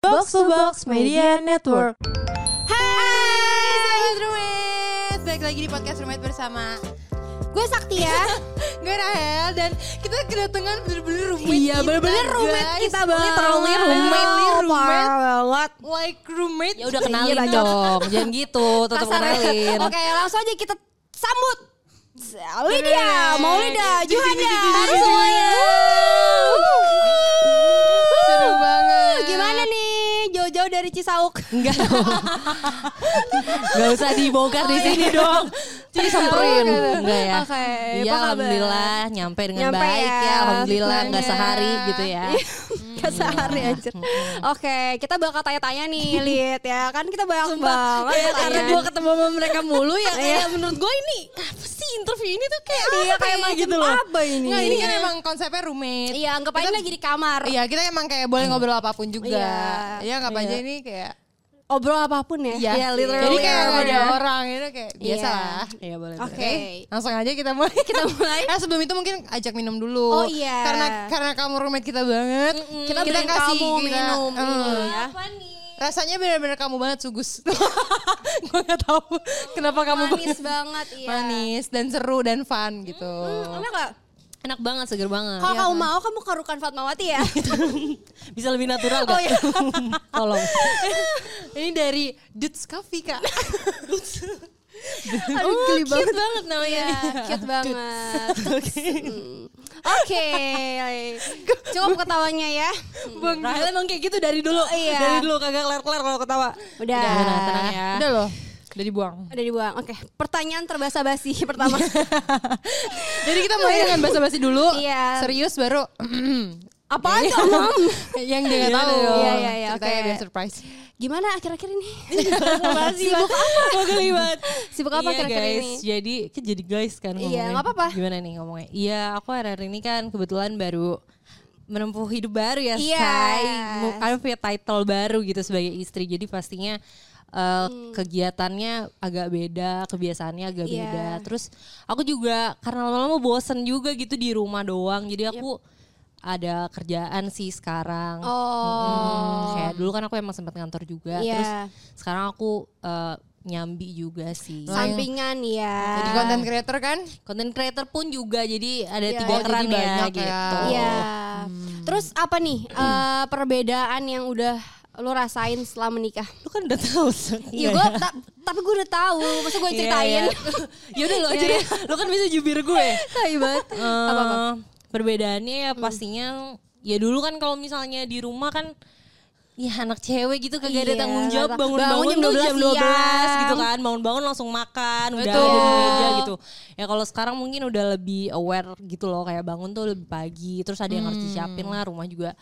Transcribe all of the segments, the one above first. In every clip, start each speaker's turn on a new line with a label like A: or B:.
A: Box to Box Media Network.
B: Hai, Sobat Roommate Balik lagi di Podcast Roommate bersama
C: Gue Sakti ya.
D: Iya.
B: gue Rahel Dan kita kedatangan bener-bener roommate
C: Iya,
B: kita,
C: bener-bener roommate
B: guys.
C: kita banget.
B: Literally roommate
C: Parah
B: roommate.
C: banget.
B: Like roommate
D: Iya, Ya udah kenalin
C: Iya, Bang.
D: dong, jangan gitu, tetap
C: Kasar.
D: kenalin.
C: Oke, langsung aja kita sambut. Lydia, Maulida, Juhanda,
B: Baru
C: semuanya.
B: Seru banget
C: Gimana nih jauh-jauh dari Cisauk?
D: Enggak dong. Enggak usah dibongkar di sini dong. Jadi samperin enggak ya.
C: Oh, iya. Oke,
D: Iya,
C: apa kabar?
D: alhamdulillah nyampe dengan
C: Nyampe
D: baik ya.
C: ya,
D: Alhamdulillah enggak
B: syukurnya.
D: sehari gitu ya.
C: Gak sehari
D: Hmm.
C: anjir. Oke, kita bakal tanya-tanya nih, Lid ya. Kan kita banyak banget
D: Ya, karena
C: pertanyaan.
D: gue ketemu sama mereka mulu ya
C: Iya.
D: kayak menurut gue ini apa sih interview ini tuh kayak
C: Iya,
D: apa
C: kayak
D: ya,
C: macam
D: gitu loh.
C: apa ini?
B: Nggak, ini kan emang konsepnya roommate
C: Iya, anggap aja lagi di kamar.
B: Iya kita emang kayak boleh ngobrol apapun juga
C: Hmm. Iya.
B: Iya nggak aja ini kayak
C: Obrol apapun ya.
D: Iya, literally.
B: Jadi kayak nggak ada
D: Iya.
B: orang itu kayak biasa lah
D: Iya boleh.
C: Oke.
D: boleh.
B: Langsung aja kita mulai. Kita mulai. Nah, sebelum itu mungkin ajak minum
C: Oh,
B: dulu.
C: iya.
B: Karena karena kamu roommate kita banget.
C: Kita beliin kamu minum
B: eh,
C: ini ya.
D: Mm.
B: Rasanya benar-benar kamu banget sugus. Gue nggak tahu kenapa kamu
C: Manis
B: banget-
C: banget, iya.
B: manis dan seru dan fun gitu. Iya.
C: Enak gak?
D: Enak banget, seger banget.
C: Kalau kamu mau kamu ke Rukan Fatmawati ya.
D: Bisa lebih natural
C: Oh,
D: gak?
C: iya.
D: Tolong.
B: Ini dari Dudes Coffee kak.
C: Aduh, geli Oh, banget.
D: banget namanya.
C: Iya, cute banget. Hmm. Oke. Cukup ketawanya ya.
D: Bang, Rahel emang kayak gitu dari dulu.
C: Iya.
D: Dari dulu kagak kelar-kelar kalau ketawa.
C: Udah.
D: udah, tenang ya.
B: Udah loh. Udah dibuang.
C: Udah dibuang. Oke, pertanyaan terbasa-basi pertama.
B: Jadi kita mulai dengan basa-basi dulu.
C: Iya.
B: Serius baru.
C: Apaan tuh, Mam?
B: yang dia nggak tahu.
C: Iya, iya, iya,
B: Ceritanya
C: oke.
B: biar surprise.
C: Gimana akhir-akhir ini?
D: Sibuk apa? Mau kelibat.
C: Iya, Sibuk apa
D: Iya,
C: kira-kira
D: guys.
C: ini?
D: Jadi, kan jadi guys kan
C: Iya,
D: ngomongnya.
C: nggak apa-apa.
D: Gimana nih ngomongnya? Iya, aku hari-hari ini kan kebetulan baru menempuh hidup baru ya,
C: Iya.
D: Sky. Mu- Aku punya title baru gitu sebagai istri. Jadi pastinya eh, kegiatannya agak beda, kebiasaannya agak
C: Hmm. Iya.
D: beda. Terus aku juga karena lama-lama bosen juga gitu di rumah doang. Jadi aku ada kerjaan sih sekarang. Hmm,
C: Oh.
D: kayak dulu kan aku emang sempat ngantor juga.
C: Iya.
D: Terus sekarang aku eh, nyambi juga sih.
C: Hmm. Sampingan ya.
B: Jadi content creator kan?
D: Content creator pun juga jadi ada
C: Iya,
D: tiga
C: jadi
D: keran ya
B: banyak
D: gitu.
B: ya.
C: Iya.
D: Hmm.
C: Terus apa nih eh, perbedaan yang udah lo rasain setelah menikah?
D: Lu kan udah tahu. Sak.
C: Iya, gue tapi gue udah tahu. Masa
D: Iya,
C: gue ceritain? Iya,
D: ya udah lo aja deh. Lo kan bisa jubir gue.
C: Tai banget.
D: Eh, Perbedaannya ya pastinya ya dulu kan kalau misalnya di rumah kan Ya anak cewek gitu kagak
C: Iya,
D: ada tanggung jawab
C: bangun
D: bangun-bangun
C: jam
D: tuh
C: 12
D: jam 12
C: siang.
D: gitu kan bangun-bangun langsung makan udah
C: Betul.
D: ada di meja gitu ya kalau sekarang mungkin udah lebih aware gitu loh kayak bangun tuh lebih pagi terus ada yang harus disiapin lah rumah juga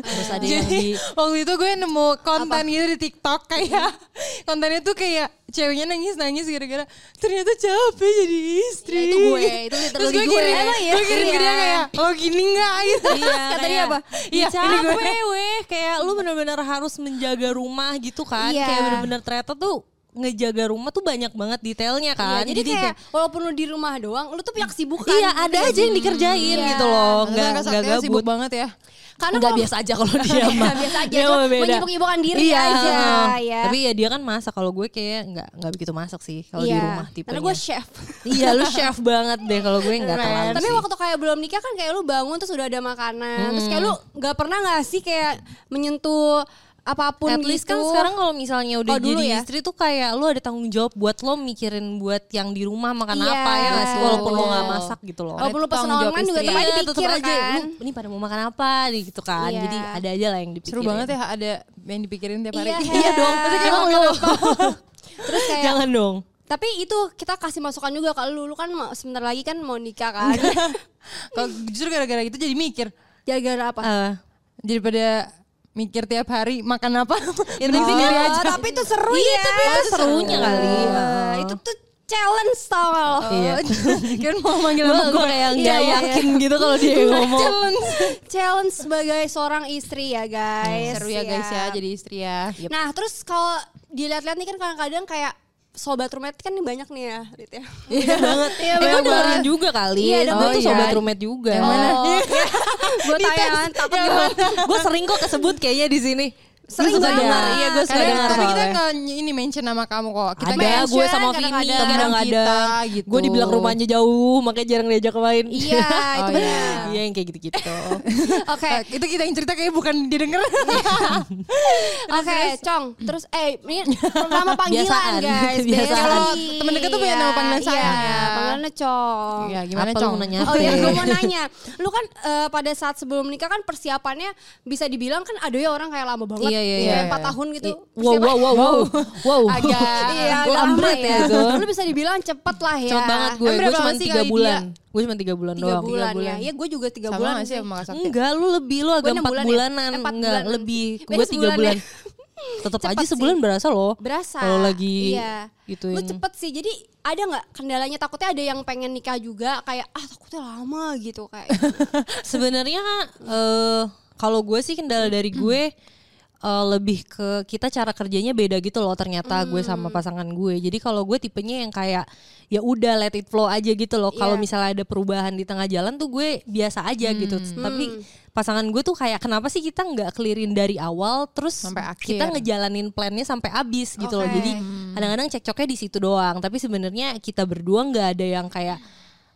D: terus ada yang di
B: Hmm. Jadi waktu itu gue nemu konten gitu di TikTok kayak kontennya tuh kayak ceweknya nangis nangis gara-gara ternyata capek jadi istri.
D: Nah,
C: Ya, itu gue, itu
B: Terus
C: literally
B: gue
C: gue.
B: kirim,
C: Emang ya?
B: gue kirim ke dia
C: Iya.
B: kayak
D: "Oh,
B: lo gini nggak gitu.
D: Iya,
C: Kata dia
D: kayak,
C: apa?
D: Iya,
B: Iya, ini gue."
D: capek weh. Kayak lu bener-bener harus menjaga rumah gitu kan.
C: Iya.
D: Kayak bener-bener ternyata tuh ngejaga rumah tuh banyak banget detailnya kan.
C: Iya, jadi, kayak walaupun lu di rumah doang, lu tuh punya kesibukan.
D: Iya ada aja yang dikerjain
C: Iya.
D: gitu loh. Nggak,
B: Enggak
D: nggak
B: gabut.
D: gabut.
B: Sibuk banget ya.
C: Karena
D: Nggak
C: kalau-
D: biasa aja kalau dia mah.
C: biasa aja,
D: Dia
C: cuma
D: mah beda. Iya,
C: menyibuk-nyibukkan diri aja, ya.
D: Tapi ya dia kan masak. Kalau gue kayak nggak nggak begitu masak sih kalau di
C: Iya.
D: rumah tipenya.
C: Karena gue chef.
D: iya lu chef banget deh kalau gue nggak
B: Keren.
D: terlalu.
C: Tapi
D: sih. Hmm.
C: waktu kayak belum nikah kan kayak lu bangun terus udah ada makanan. Terus kayak lu nggak pernah nggak sih kayak menyentuh apapun
D: At
C: gitu.
D: least kan sekarang kalau misalnya
C: Oh,
D: udah
C: dulu ya.
D: jadi istri tuh kayak lu ada tanggung jawab buat lo mikirin buat yang di rumah makan
C: Iya,
D: apa ya nggak sih walaupun lo nggak
B: betul.
D: masak gitu loh.
C: Walaupun lu pesen
D: Tanggung jawab
C: online juga
D: istri.
C: tetap aja
D: Iya,
C: dipikir
D: aja,
C: kan.
D: Lu, ini pada mau makan apa nih gitu kan.
C: Iya.
D: Jadi ada aja lah yang dipikirin.
B: Seru banget ya ada yang dipikirin tiap hari.
C: Iya,
D: Iya dong.
C: Hel.
D: Pasti kayak emang lo.
C: terus kayak
D: Jangan dong.
C: tapi itu kita kasih masukan juga kalau lu, lu kan mau- sebentar lagi kan mau nikah kan.
B: Kalau justru gara-gara itu jadi mikir.
C: Gara-gara apa?
D: Eh,
B: Daripada mikir tiap hari makan apa.
D: Ya,
B: Mending
D: tapi-
B: sendiri aja.
C: Iya, tapi itu seru
D: Iya,
C: ya.
D: tapi itu serunya kali.
C: Eh, itu tuh challenge tau gak lo.
D: Iya.
B: Kan mau manggil
D: Gue
B: sama gue.
D: kayak
C: Iya,
D: nggak
C: iya.
D: yakin gitu kalau dia ngomong.
C: challenge sebagai seorang istri ya guys. Iya.
B: Seru ya guys ya jadi istri ya.
C: Nah terus kalau dilihat-lihat nih kan kadang-kadang kayak sobat roommate kan nih banyak nih ya, Rit ya.
D: Iya banget. Iya
C: banyak
D: gue dengerin
C: banget.
D: juga kali.
C: Iya,
D: Gue
C: dengerin
D: tuh
C: ya.
D: sobat roommate juga.
C: Oh, gue Iya. tanya kan, takut gue
D: gue sering kok kesebut kayaknya di sini
C: Sering
D: suka
C: banget.
D: dengar, iya, gue suka
B: Kadang-
D: dengar
B: tapi kita
D: soalnya.
B: nggak ini mention nama kamu kok. Kita
D: ada
B: nggak
D: gue
B: mention,
D: sama Vini
B: kadang-kadang
D: kadang-kadang,
B: kita gitu.
D: gue dibilang rumahnya jauh makanya jarang diajak main
C: Iya, itu
D: Oh, iya.
C: benar.
D: Iya, yang kayak gitu-gitu
C: Oke,
B: Eh, itu kita yang cerita kayaknya bukan dia denger.
C: oke, Cong. Terus eh ini nama panggilan
D: Biasaan.
C: guys.
D: Biasaan.
B: Kalau temen deket tuh punya nama panggilan saya.
C: Iya, panggilannya Iya, Cong.
D: Iya.
B: ya gimana
D: Apa lu
B: Cong?
D: mau nanya?
C: Oh iya,
D: Apa?
C: gue mau nanya. Lu kan eh, pada saat sebelum nikah kan persiapannya bisa dibilang kan ada ya orang kayak lama banget.
D: Iya, iya,
C: Udah
D: iya.
C: Empat tahun gitu.
D: wow wow wow wow wow
B: Agak
C: Iya, agak lama
D: Lambat
C: ya.
D: ya, Zon.
C: Lu bisa dibilang cepet lah ya.
D: cepet banget gue
B: Emang
D: gue
B: berapa
D: cuma
B: lama sih
D: tiga
B: kali
D: bulan gue cuma tiga bulan
C: Tiga
D: doang
C: bulan, ya. Iya, gue juga tiga
B: sama
C: bulan.
B: nggak sih sama Kak Sakti?
D: enggak lu lebih lu agak
C: enam
D: empat
C: bulan ya?
D: bulanan
C: Empat
D: enggak
C: bulan.
D: lebih
C: Beda
D: gue tiga
C: sebulan
D: bulan
C: ya.
D: tetap
C: Cepet
D: aja
C: sih.
D: sebulan berasa loh
C: Berasa.
D: kalau lagi gitu
C: iya.
D: gituin.
C: Lu cepet sih. Jadi ada nggak kendalanya takutnya ada yang pengen nikah juga kayak ah takutnya lama gitu kayak.
D: Sebenarnya eh kalau gue sih kendala dari gue eh, lebih ke kita cara kerjanya beda gitu loh ternyata gue sama pasangan gue. Jadi kalau gue tipenya yang kayak ya udah let it flow aja gitu loh. Kalau
C: Iya.
D: misalnya ada perubahan di tengah jalan tuh gue biasa aja gitu. Tapi pasangan gue tuh kayak kenapa sih kita nggak clearin dari awal terus
B: Sampai akhir.
D: kita ngejalanin plannya sampai abis gitu loh.
C: Oke.
D: Jadi kadang-kadang cekcoknya di situ doang. Tapi sebenarnya kita berdua nggak ada yang kayak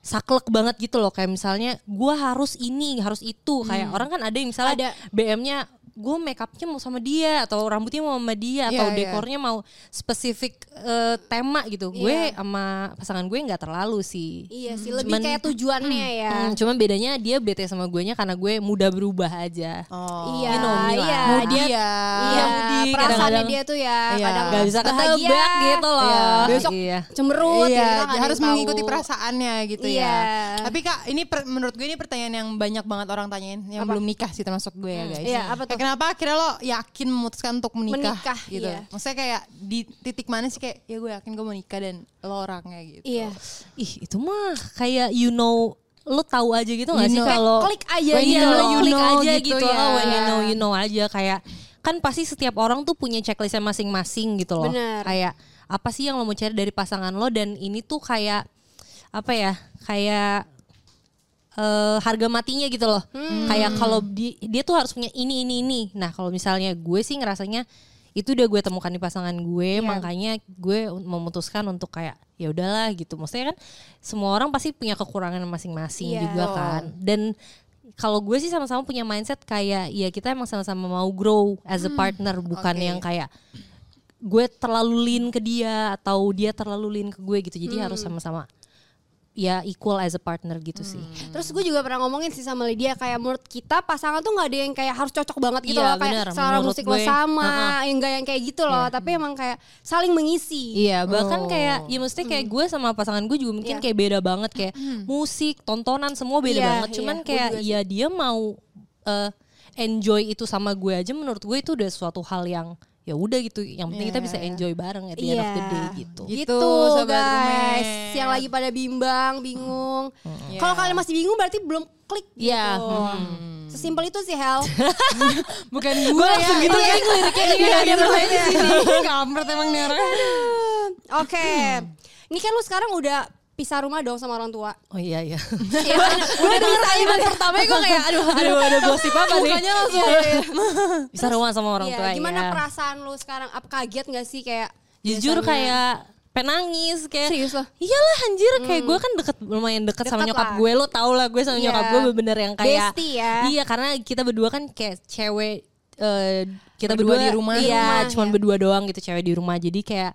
D: saklek banget gitu loh kayak misalnya gua harus ini harus itu kayak orang kan ada yang misalnya BM-nya gue make upnya mau sama dia atau rambutnya mau sama dia atau
B: Iya, iya.
D: dekornya mau spesifik eh, tema gitu gue sama pasangan gue nggak terlalu sih
C: iya sih, lebih
D: Cuman-
C: kayak tujuannya ya.
D: Hmm, cuman bedanya dia bete sama gue nya karena gue mudah berubah aja
B: Oh.
C: Iya,
D: you know me lah.
C: iya.
B: Moody ya.
C: Iya,
D: Moody,
C: perasaannya
D: kadang-kadang-
C: dia tuh ya
B: Iya.
C: kadang
D: nggak bisa
C: bahagia,
D: ketebak gitu loh
B: Iya.
C: Besok
D: iya.
C: cemberut gitu, kita
B: iya,
C: nggak ada
B: harus
C: yang tahu.
B: mengikuti perasaannya gitu
C: Iya.
B: ya. Tapi kak, ini per- menurut gue ini pertanyaan yang banyak banget orang tanyain yang belum nikah sih termasuk gue ya guys.
C: Iya, apa
B: Kayak
C: tuh?
B: kenapa akhirnya lo yakin memutuskan untuk menikah,
C: Menikah,
B: gitu?
C: iya.
B: Maksudnya kayak di titik mana sih kayak ya gue yakin gue mau nikah dan lo orangnya gitu.
C: Iya.
D: Hmm. ih itu mah kayak you know lu tahu aja gitu nggak
B: You
D: sih
B: know.
D: kalau
C: Klik aja
D: when
C: gitu
D: you know,
C: loh.
D: you
B: Klik
D: know
B: aja
D: aja
B: gitu
D: gitu,
B: ya.
D: oh when you know you know aja kayak kan pasti setiap orang tuh punya checklistnya masing-masing gitu loh
C: Benar.
D: kayak apa sih yang lo mau cari dari pasangan lo dan ini tuh kayak apa ya kayak eh, harga matinya gitu loh kayak kalau di- dia tuh harus punya ini ini ini nah kalau misalnya gue sih ngerasanya itu udah gue temukan di pasangan gue makanya gue memutuskan untuk kayak ya udahlah gitu maksudnya kan semua orang pasti punya kekurangan masing-masing
C: Iya.
D: juga kan dan kalau gue sih sama-sama punya mindset kayak ya kita emang sama-sama mau grow as a partner bukan
B: oke.
D: yang kayak gue terlalu lean ke dia atau dia terlalu lean ke gue gitu jadi harus sama-sama ya equal as a partner gitu sih
C: Terus gue juga pernah ngomongin sih sama Lydia kayak menurut kita pasangan tuh nggak ada yang kayak harus cocok banget gitu
D: Iya,
C: loh kayak
D: bener.
C: selera
D: Menurut
C: musik lo
D: gue. Iya.
C: sama,
D: Ha-ha.
C: yang enggak yang kayak gitu loh, tapi emang kayak saling mengisi.
D: Iya, bahkan kayak ya mesti kayak gue sama pasangan gue juga mungkin
C: Iya.
D: kayak beda banget kayak musik, tontonan semua beda
C: Iya,
D: banget. Cuman
C: iya. Gue
D: kayak
C: juga
D: ya dia mau eh, enjoy itu sama gue aja menurut gue itu udah suatu hal yang ya udah gitu. Yang penting kita bisa enjoy bareng at the end of the day gitu.
C: Gitu,
B: Gitu, sobat
C: guys.
B: Rumen.
C: Yang lagi pada bimbang, bingung. Kalau kalian masih bingung berarti belum klik gitu.
D: Iya,
C: Sesimpel itu sih Hel.
B: Bukan gue ya. Gitu ya
D: kan?
B: liriknya
C: Iya,
B: ada
C: gitu.
B: bermain di sini. Kampret emang nih orang.
C: Oke. Ini kan lu sekarang udah pisah rumah dong sama orang tua.
D: Oh iya iya.
C: Iya, gue denger kalimat pertamanya gue kayak aduh
D: Aduh ada gosip apa nih?
B: Mukanya langsung.
D: Bisa rumah sama orang
C: Iya,
D: tua
C: gimana
D: ya.
C: perasaan lu sekarang? Apa kaget gak sih kayak
D: Jujur
C: biasanya?
D: kayak penangis kayak
C: Serius loh? Hmm.
D: iyalah anjir kayak gue kan deket lumayan deket, sama
C: Deket
D: nyokap
C: lah.
D: gue lo tau lah gue sama
C: Iya.
D: nyokap gue bener-bener yang kayak
C: Bestie ya.
D: iya karena kita berdua kan kayak cewek eh, kita
B: Berdua
D: berdua,
B: di rumah.
D: iya
C: Di rumah,
D: cuman
C: iya.
D: berdua doang gitu cewek di rumah jadi kayak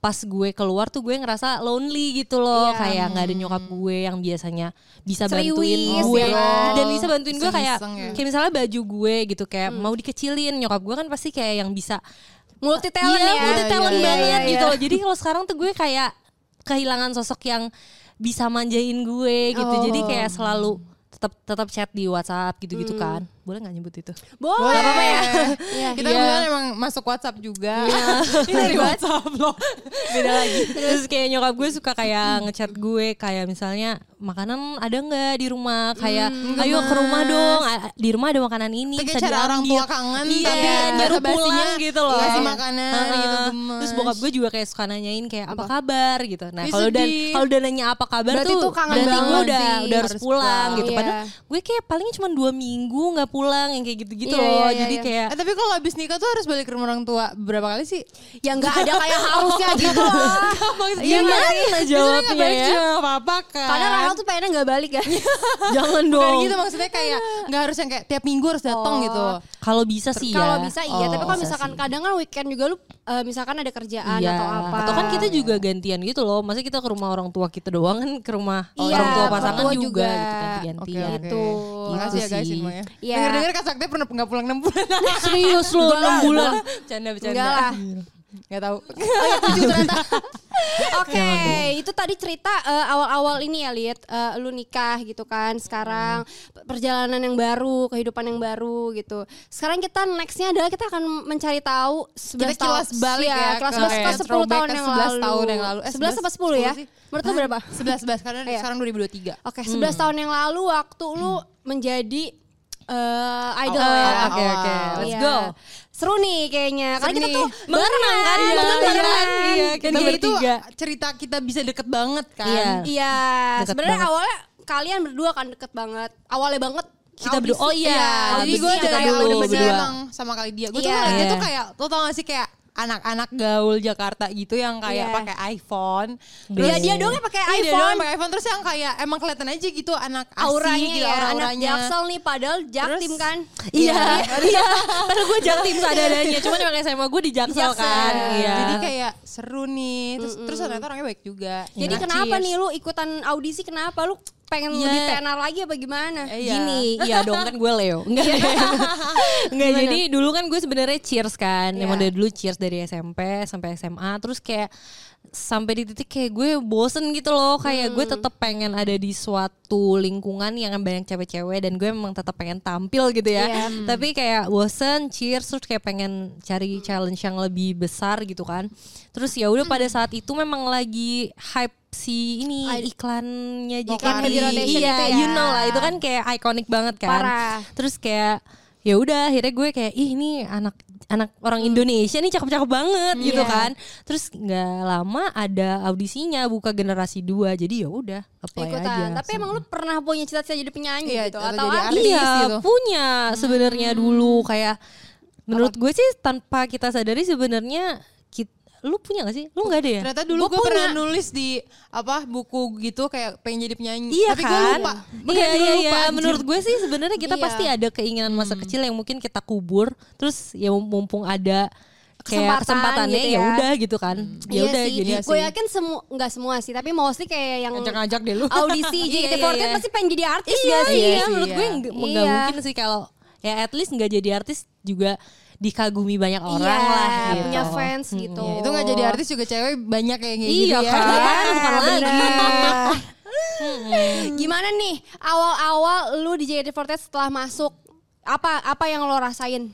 D: pas gue keluar tuh gue ngerasa lonely gitu loh
C: Iya.
D: kayak nggak ada nyokap gue yang biasanya bisa bantuin
C: Ceriwis,
D: gue
C: ya kan?
D: dan bisa bantuin gue kayak
B: Iseng-iseng ya.
C: Hmm.
D: kayak misalnya baju gue gitu kayak mau dikecilin nyokap gue kan pasti kayak yang bisa
C: multi talent
D: iya,
C: ya.
D: multi talent
C: Iya,
D: banget
C: iya,
D: gitu
C: iya.
D: loh. Jadi kalau sekarang tuh gue kayak kehilangan sosok yang bisa manjain gue gitu.
C: Oh.
D: Jadi kayak selalu tetap tetap chat di WhatsApp gitu-gitu
C: Hmm.
D: kan. Boleh nggak nyebut itu?
C: Boleh.
B: Gak apa-apa ya.
C: Iya.
B: Kita
D: Iya.
B: kebetulan emang masuk WhatsApp juga. Ini dari WhatsApp loh.
D: Beda lagi. Terus kayak nyokap gue suka kayak ngechat gue kayak misalnya makanan ada nggak di rumah? Kayak ayo ke rumah dong. A- a- Di rumah ada makanan ini.
B: Itu
D: bisa
B: kayak cara orang
D: diambil."
B: tua kangen
D: Iya,
B: tapi
D: nyuruh
B: basa-basinya
D: pulang gitu loh.
B: Kasih makanan
D: Heeh.
B: gitu gemes.
D: Terus bokap gue juga kayak suka nanyain kayak apa kabar gitu. Nah,
B: Ih,
D: kalau udah
B: sedih.
D: kalau udah nanya apa kabar
C: Berarti
D: tuh
C: tuh kangen
D: berarti gue
C: banget
D: udah
B: sih.
D: udah harus
B: Harus
D: pulang
B: pulang.
D: gitu.
C: Iya.
D: Padahal gue kayak palingnya cuma dua minggu nggak pulang yang kayak gitu-gitu
C: Iya,
D: loh.
C: iya, iya,
D: Jadi
C: iya.
D: kayak
B: Eh, tapi kalau abis nikah tuh harus balik ke rumah orang tua berapa kali sih?
C: Ya nggak ada kayak harusnya gitu lah.
D: Iya,
B: Gimana
D: kan? Jawabnya
B: Jawabnya
D: ya.
B: ya. Gak apa-apa kan.
C: Iya. Karena Rara tuh pengennya nggak balik ya.
D: jangan
B: Bukan
D: dong.
B: gitu maksudnya kayak nggak harus yang kayak tiap minggu harus datang
C: Oh.
B: gitu.
D: Kalau bisa sih ya.
C: Kalau bisa iya,
B: Oh,
C: tapi kalau
B: bisa
C: misalkan kadang kan weekend juga lu eh, misalkan ada kerjaan
D: Iya.
C: atau apa.
D: Atau kan kita juga gantian gitu loh. Maksudnya kita ke rumah orang tua kita doang kan ke rumah
C: Iya,
D: orang tua
C: orang
D: pasangan
C: tua
D: juga,
C: juga.
D: gitu kan gantian.
B: Oke, oke.
C: Gitu.
B: Makasih ya
D: Gitu
B: guys
D: sih.
B: semuanya.
C: Iya.
B: Dengar-dengar Kak Sakti pernah nggak pulang 6 bulan.
D: Serius loh 6 bulan.
B: Bercanda bercanda. Hmm.
C: Enggak lah. Oh, iya,
B: Enggak tahu.
C: Oke, itu tadi cerita eh, awal-awal ini ya, Lid. Eh, lu nikah gitu kan sekarang.
B: Hmm.
C: Perjalanan yang baru, kehidupan yang baru gitu. Sekarang kita nextnya adalah kita akan mencari tahu 11
B: Kita kilas
C: tahun-
B: balik
C: Iya,
B: ya,
C: Kilas
B: ke-
C: balik
B: eh,
C: ke 10
B: throwback
C: tahun
B: ke
C: yang
B: 11
C: lalu.
B: tahun yang lalu. Eh,
C: 11 apa 10 ya?
B: sih. Hmm.
C: Menurut lu berapa?
B: 11 11 karena
C: Iya.
B: sekarang 2023.
C: Oke, 11 tahun yang lalu waktu lu
B: Hmm.
C: menjadi eh, idol
B: Awal,
C: ya.
B: awal. Oke, oke.
D: Let's
C: Iya.
D: go.
C: Seru nih kayaknya. Karena
B: Seru
C: kita
B: nih.
C: tuh barengan kan, kita
D: Iya, iya,
C: barengan. kan
D: iya.
B: Dan
D: Kita
B: dia itu
D: bertiga.
B: cerita kita bisa deket banget kan.
D: Iya.
C: Iya,
D: Deket
C: sebenarnya
D: banget.
C: awalnya kalian berdua kan deket banget. Awalnya banget
D: Kita
C: audisi.
D: berdua- oh iya,
B: Jadi
D: audisi
B: gue
D: kita
B: dari
D: dulu
B: awal
D: berdua.
B: emang sama kali dia. Gue tuh
C: Iya.
B: ngeliat dia
D: Iya.
B: tuh kayak, lo tau gak sih kayak anak-anak gaul Jakarta gitu yang kayak
C: Iya.
B: pakai iPhone.
C: Iya, dia doang yang pakai
B: Iya, dia
C: iPhone.
B: doang pakai iPhone terus yang kayak emang kelihatan aja gitu anak asli
C: auranya
B: gitu,
C: ya, anak
B: aura-auranya.
C: Jaksel nih padahal Jaktim
B: Terus-
C: kan.
D: Iya, iya. Padahal gue jaktim seadanya. Cuman emang SMA gue di Jaksel
C: Jaksel.
D: kan. Iya.
B: Jadi kayak seru nih. Terus terus ternyata orangnya baik juga.
C: Jadi
B: Nah,
C: kenapa
B: cheers.
C: nih lu ikutan audisi kenapa lu pengen
D: Iya.
C: lebih tenar lagi apa gimana?
B: Eh, iya.
D: Gini, iya dong kan gue Leo. Enggak.
C: Iya.
D: Enggak jadi dulu kan gue sebenarnya cheers kan.
C: Iya.
D: Emang dari dulu cheers dari SMP sampai SMA terus kayak sampai di titik kayak gue bosen gitu loh kayak
C: Hmm.
D: gue tetap pengen ada di suatu lingkungan yang banyak cewek-cewek dan gue memang tetap pengen tampil gitu ya
C: Iya.
D: tapi kayak bosen cheers terus kayak pengen cari challenge yang lebih besar gitu kan terus ya udah pada saat itu memang lagi hype si ini
C: Hmm. I-
D: iklannya
B: Lokari.
D: JKT.
C: Rotation
D: iya
C: itu ya.
D: you know lah itu kan kayak ikonik banget kan
C: Parah.
D: terus kayak ya udah akhirnya gue kayak ih ini anak anak orang Indonesia nih cakep-cakep banget gitu
C: Iya.
D: kan terus nggak lama ada audisinya buka generasi 2 jadi ya udah apply aja
C: Ikutan. Tapi emang lu pernah punya cita-cita jadi penyanyi
B: Iya,
C: gitu
B: atau
C: atau
B: jadi
C: artis?
B: artis.
D: iya
B: gitu.
D: punya sebenarnya dulu kayak menurut gue sih tanpa kita sadari sebenarnya kit- lu punya gak sih lu nggak ada ya
B: Ternyata dulu
D: Gua
B: gue
D: punya.
B: pernah nulis di apa buku gitu kayak pengen jadi penyanyi.
D: Iya
B: Tapi
D: kan?
B: gue lupa. Makanya
D: Iya,
B: gue
D: iya,
B: lupa,
D: iya.
B: anjir.
D: Menurut gue sih sebenarnya kita
C: Iya.
D: pasti ada keinginan masa kecil yang mungkin kita kubur. Terus ya mumpung ada kayak
C: Kesempatan gitu
D: kesempatannya ya
C: ya. Iya
D: udah gitu kan. Ya udah
C: sih,
D: jadi
C: gue yakin semua nggak semua sih, tapi mostly kayak yang
B: Ajak-ajak deh lu.
C: audisi
D: Iya,
C: JKT48
D: iya, iya.
C: pasti pengen jadi artis
D: Iya,
C: gak sih?
D: iya,
B: Iya sih,
D: menurut gue
B: iya.
D: nggak nggak
C: Iya.
D: mungkin sih kalau ya at least nggak jadi artis juga dikagumi banyak orang
C: Iya,
D: lah gitu.
C: punya fans gitu.
B: Iya, itu nggak jadi artis juga cewek banyak kayak gitu
D: Iya
B: ya.
D: kan, bukan lagi. Hmm.
C: Gimana nih awal-awal lu di JKT48 setelah masuk apa apa yang lo rasain?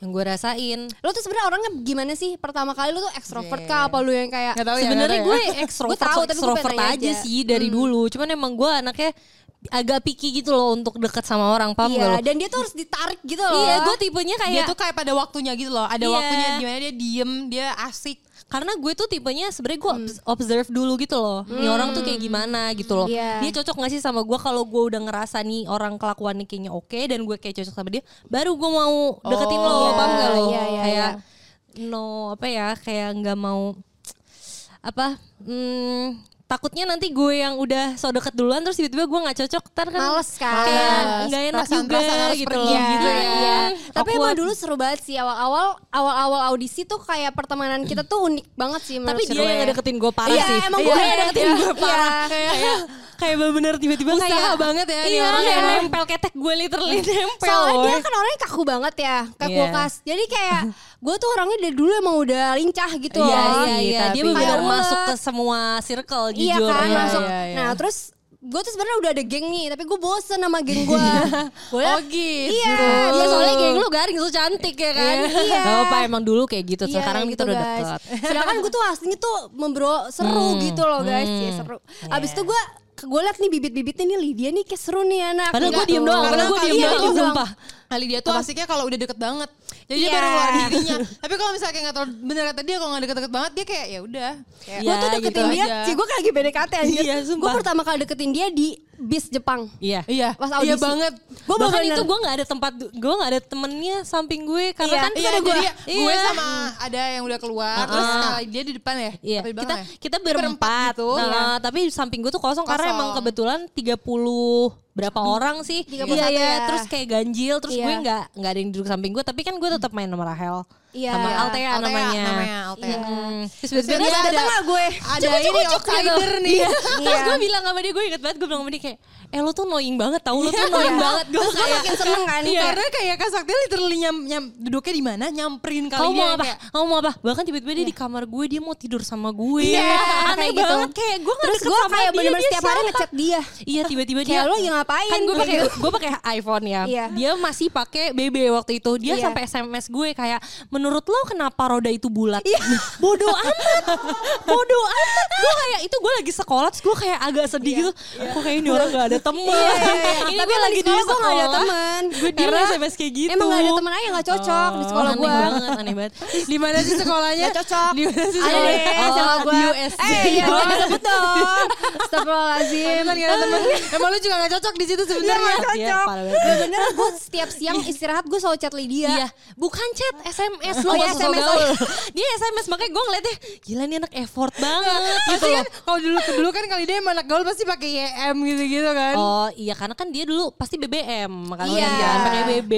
D: Yang gue rasain
C: Lo tuh sebenarnya orangnya gimana sih? Pertama kali lo tuh ekstrovert kah apa lu yang kayak
B: Nggak tahu ya,
D: sebenarnya
B: nggak tahu
D: gue
B: ya.
D: ekstrovert
C: Gue tahu, tapi
D: so
C: gue pengen
D: ekstrovert
C: nanya
D: aja,
C: aja. Hmm.
D: sih dari dulu cuman emang gue anaknya agak picky gitu loh untuk dekat sama orang paham nggak
C: Iya,
D: lo?
C: dan dia tuh harus ditarik gitu loh.
D: iya gue tipenya kayak
B: Dia tuh kayak pada waktunya gitu loh. Ada
D: Iya.
B: waktunya dimana dia diem, dia asik.
D: karena gue tuh tipenya sebenarnya
C: Hmm.
D: gue obs- observe dulu gitu loh nih orang tuh kayak gimana gitu loh
C: Iya.
D: dia cocok gak sih sama gue kalau gue udah ngerasa nih orang kelakuannya kayaknya oke dan gue kayak cocok sama dia baru gue mau deketin lo
C: Iya,
D: paham gak lo
C: iya, iya,
D: kayak no apa ya kayak nggak mau apa hmm, takutnya nanti gue yang udah so deket duluan terus tiba-tiba gue nggak cocok ntar kan
C: Males kan.
D: kayak
B: Males.
D: nggak enak juga
B: Perasaan-perasaan harus
D: gitu
B: pergi
D: loh
B: gitu
C: Iya,
B: ya.
C: iya. Tapi emang
D: Awkward.
C: dulu seru banget sih awal-awal awal-awal audisi tuh kayak pertemanan kita tuh unik banget sih menurut ya.
D: tapi dia yang ngedeketin gue parah
C: Iya,
D: sih Iya.
C: emang gue
D: Dia
C: yang
D: ngedeketin
C: deketin
D: gue
C: gue
D: parah
C: parah.
D: kayak kayak bener-bener tiba-tiba
B: Usaha
D: kayak
B: banget ya nih
D: iya
B: orang
D: kayak
B: ya.
D: nempel ketek gue literally nempel
C: Soalnya dia
D: woy.
C: kan orangnya kaku banget ya, kayak
D: Iya.
C: kulkas. Jadi kayak gue tuh orangnya dari dulu emang udah lincah gitu loh.
D: iya iya iya dia
B: Tapi-
D: benar
C: Kayak
D: masuk
C: ulet.
D: ke semua circle
C: Iya
D: jujur
C: kan
D: Iya,
C: masuk.
D: iya.
B: iya, iya.
C: Nah terus gue tuh sebenarnya udah ada geng nih, tapi gue bosen sama geng gue.
B: Oh gitu.
C: Iya,
D: Iya
C: iya
D: soalnya geng
C: lu
D: lu garing lu cantik ya kan
C: Iya.
D: Gak apa emang dulu kayak gitu
C: Iya,
D: Sekarang
C: gitu,
D: kita udah
C: guys.
D: deket Hmm,
C: Sedangkan gue tuh aslinya tuh membro seru gitu loh guys, ya seru.
D: Iya.
C: Abis itu gue gue liat nih bibit-bibitnya nih Lydia nih kayak seru nih anak.
D: Padahal gue
C: Enggak
D: diem
C: tuh.
D: doang
B: Karena
D: Padahal gue
B: kali
D: diem
B: dia
D: doang
B: doang.
D: Sumpah
B: Kali dia tuh asiknya kalau udah deket banget. Jadi dia
C: Iya.
B: baru ngeluarin dirinya. Tapi kalau misalnya kayak gak tau bener kata dia, kalau gak deket-deket banget, dia kayak ya udah. Kayak,
C: Gue tuh deketin
B: gitu
C: dia,
B: aja.
C: sih gue kan lagi BDKT anjir.
D: Iya, sumpah.
C: gue pertama kali deketin dia di bis Jepang.
D: Iya.
B: Iya,
C: Pas
B: iya
C: audisi.
B: banget.
C: Gua
D: Bahkan
C: bener-bener-
D: itu gue nggak ada tempat, gue nggak ada temennya samping gue karena
C: Iya,
D: kan
B: Iya,
D: ada
B: jadi
D: gua.
B: ya, gue sama ada yang udah keluar, terus kalau dia di depan ya.
D: Iya,
B: apa
D: kita
B: di belakang ya?
D: kita berempat.
B: gitu.
D: Nah, tapi samping gue tuh kosong, karena
B: Kosong.
D: emang kebetulan 30 berapa orang sih.
C: 31
D: Iya, iya,
C: ya.
D: terus kayak ganjil, terus
C: Iya.
D: gue nggak nggak ada yang duduk samping gue, tapi kan gue tetap main sama Rahel.
C: Iya.
D: Sama Altea,
B: Altea
D: namanya.
B: namanya, Altea.
D: Mm. Terus
B: Terus
D: tiba-tiba
B: dia
D: ada- gitu. Iya.
B: datang lah gue. Ada ini
C: gitu.
B: outsider nih.
C: Iya.
D: Terus gue bilang sama dia, gue inget banget gue bilang sama dia kayak, eh lu tuh annoying banget tau, lu tuh annoying banget. Gue
C: Iya. Terus gue makin seneng kan.
B: Iya.
C: Kayak,
B: Karena kayak Kak Sakti literally nyam, nyam, duduknya di mana, nyamperin kali
D: kamu
B: dia.
D: mau apa?
B: kayak,
D: Kamu mau apa? Bahkan tiba-tiba dia di kamar gue, dia mau tidur sama gue.
C: Iya,
D: aneh
C: kayak gitu.
D: banget kayak gue nggak
C: Terus
D: deket
C: gue
D: sama
C: kayak
D: dia,
C: bener-bener
D: dia
C: setiap hari
D: siapa?
C: ngechat dia.
D: Iya tiba-tiba dia
C: Ah, Kayak lu yang ngapain?
D: Kan gue pakai
C: Gitu.
D: gue pakai iPhone ya.
C: Iya.
D: Dia masih pakai BB waktu itu. Dia
C: Iya.
D: sampai SMS gue kayak menurut lo kenapa roda itu bulat?
C: Iya.
D: Bodoh amat. Bodoh amat. Gue kayak itu gue lagi sekolah terus gue kayak agak sedih
C: Iya.
D: gitu. Aku kayak ini orang gak ada teman. Ini
C: Tapi
D: gue
C: emang di
D: lagi di
C: sekolah gue
D: sekolah
C: gak ada teman.
D: Gue dia
C: Karena
D: SMS kayak gitu.
C: Emang gak ada temen aja gak cocok di sekolah
D: aneh
C: gue.
D: banget, aneh banget.
B: Di mana sih sekolahnya?
C: Gak cocok.
B: Di mana sih
C: Ada
B: sekolahnya?
C: deh sama
D: Oh,
C: gue.
D: di USD.
C: Eh iya gak disebut dong. Astagfirullahaladzim.
B: Pantesan gak ada kan, temen. Emang lu juga gak cocok di situ
C: Iya
B: sebenarnya.
C: gak
D: Dia
C: cocok.
D: parah banget.
C: Bener-bener gue setiap siang istirahat gue selalu chat Lydia.
D: Iya, bukan chat, SMS lu
C: Oh, iya,
D: nggak usah
C: SMS,
D: gaul.
C: oh iya.
D: Dia SMS makanya gue ngeliatnya gila nih anak effort
C: Iya.
D: banget gitu
B: Pasti
D: loh.
B: kan kalau dulu dulu kan kali dia emang anak gaul pasti pakai YM gitu-gitu kan.
D: Oh iya karena kan dia dulu pasti BBM makanya
C: Iya.
D: kan pakai BB.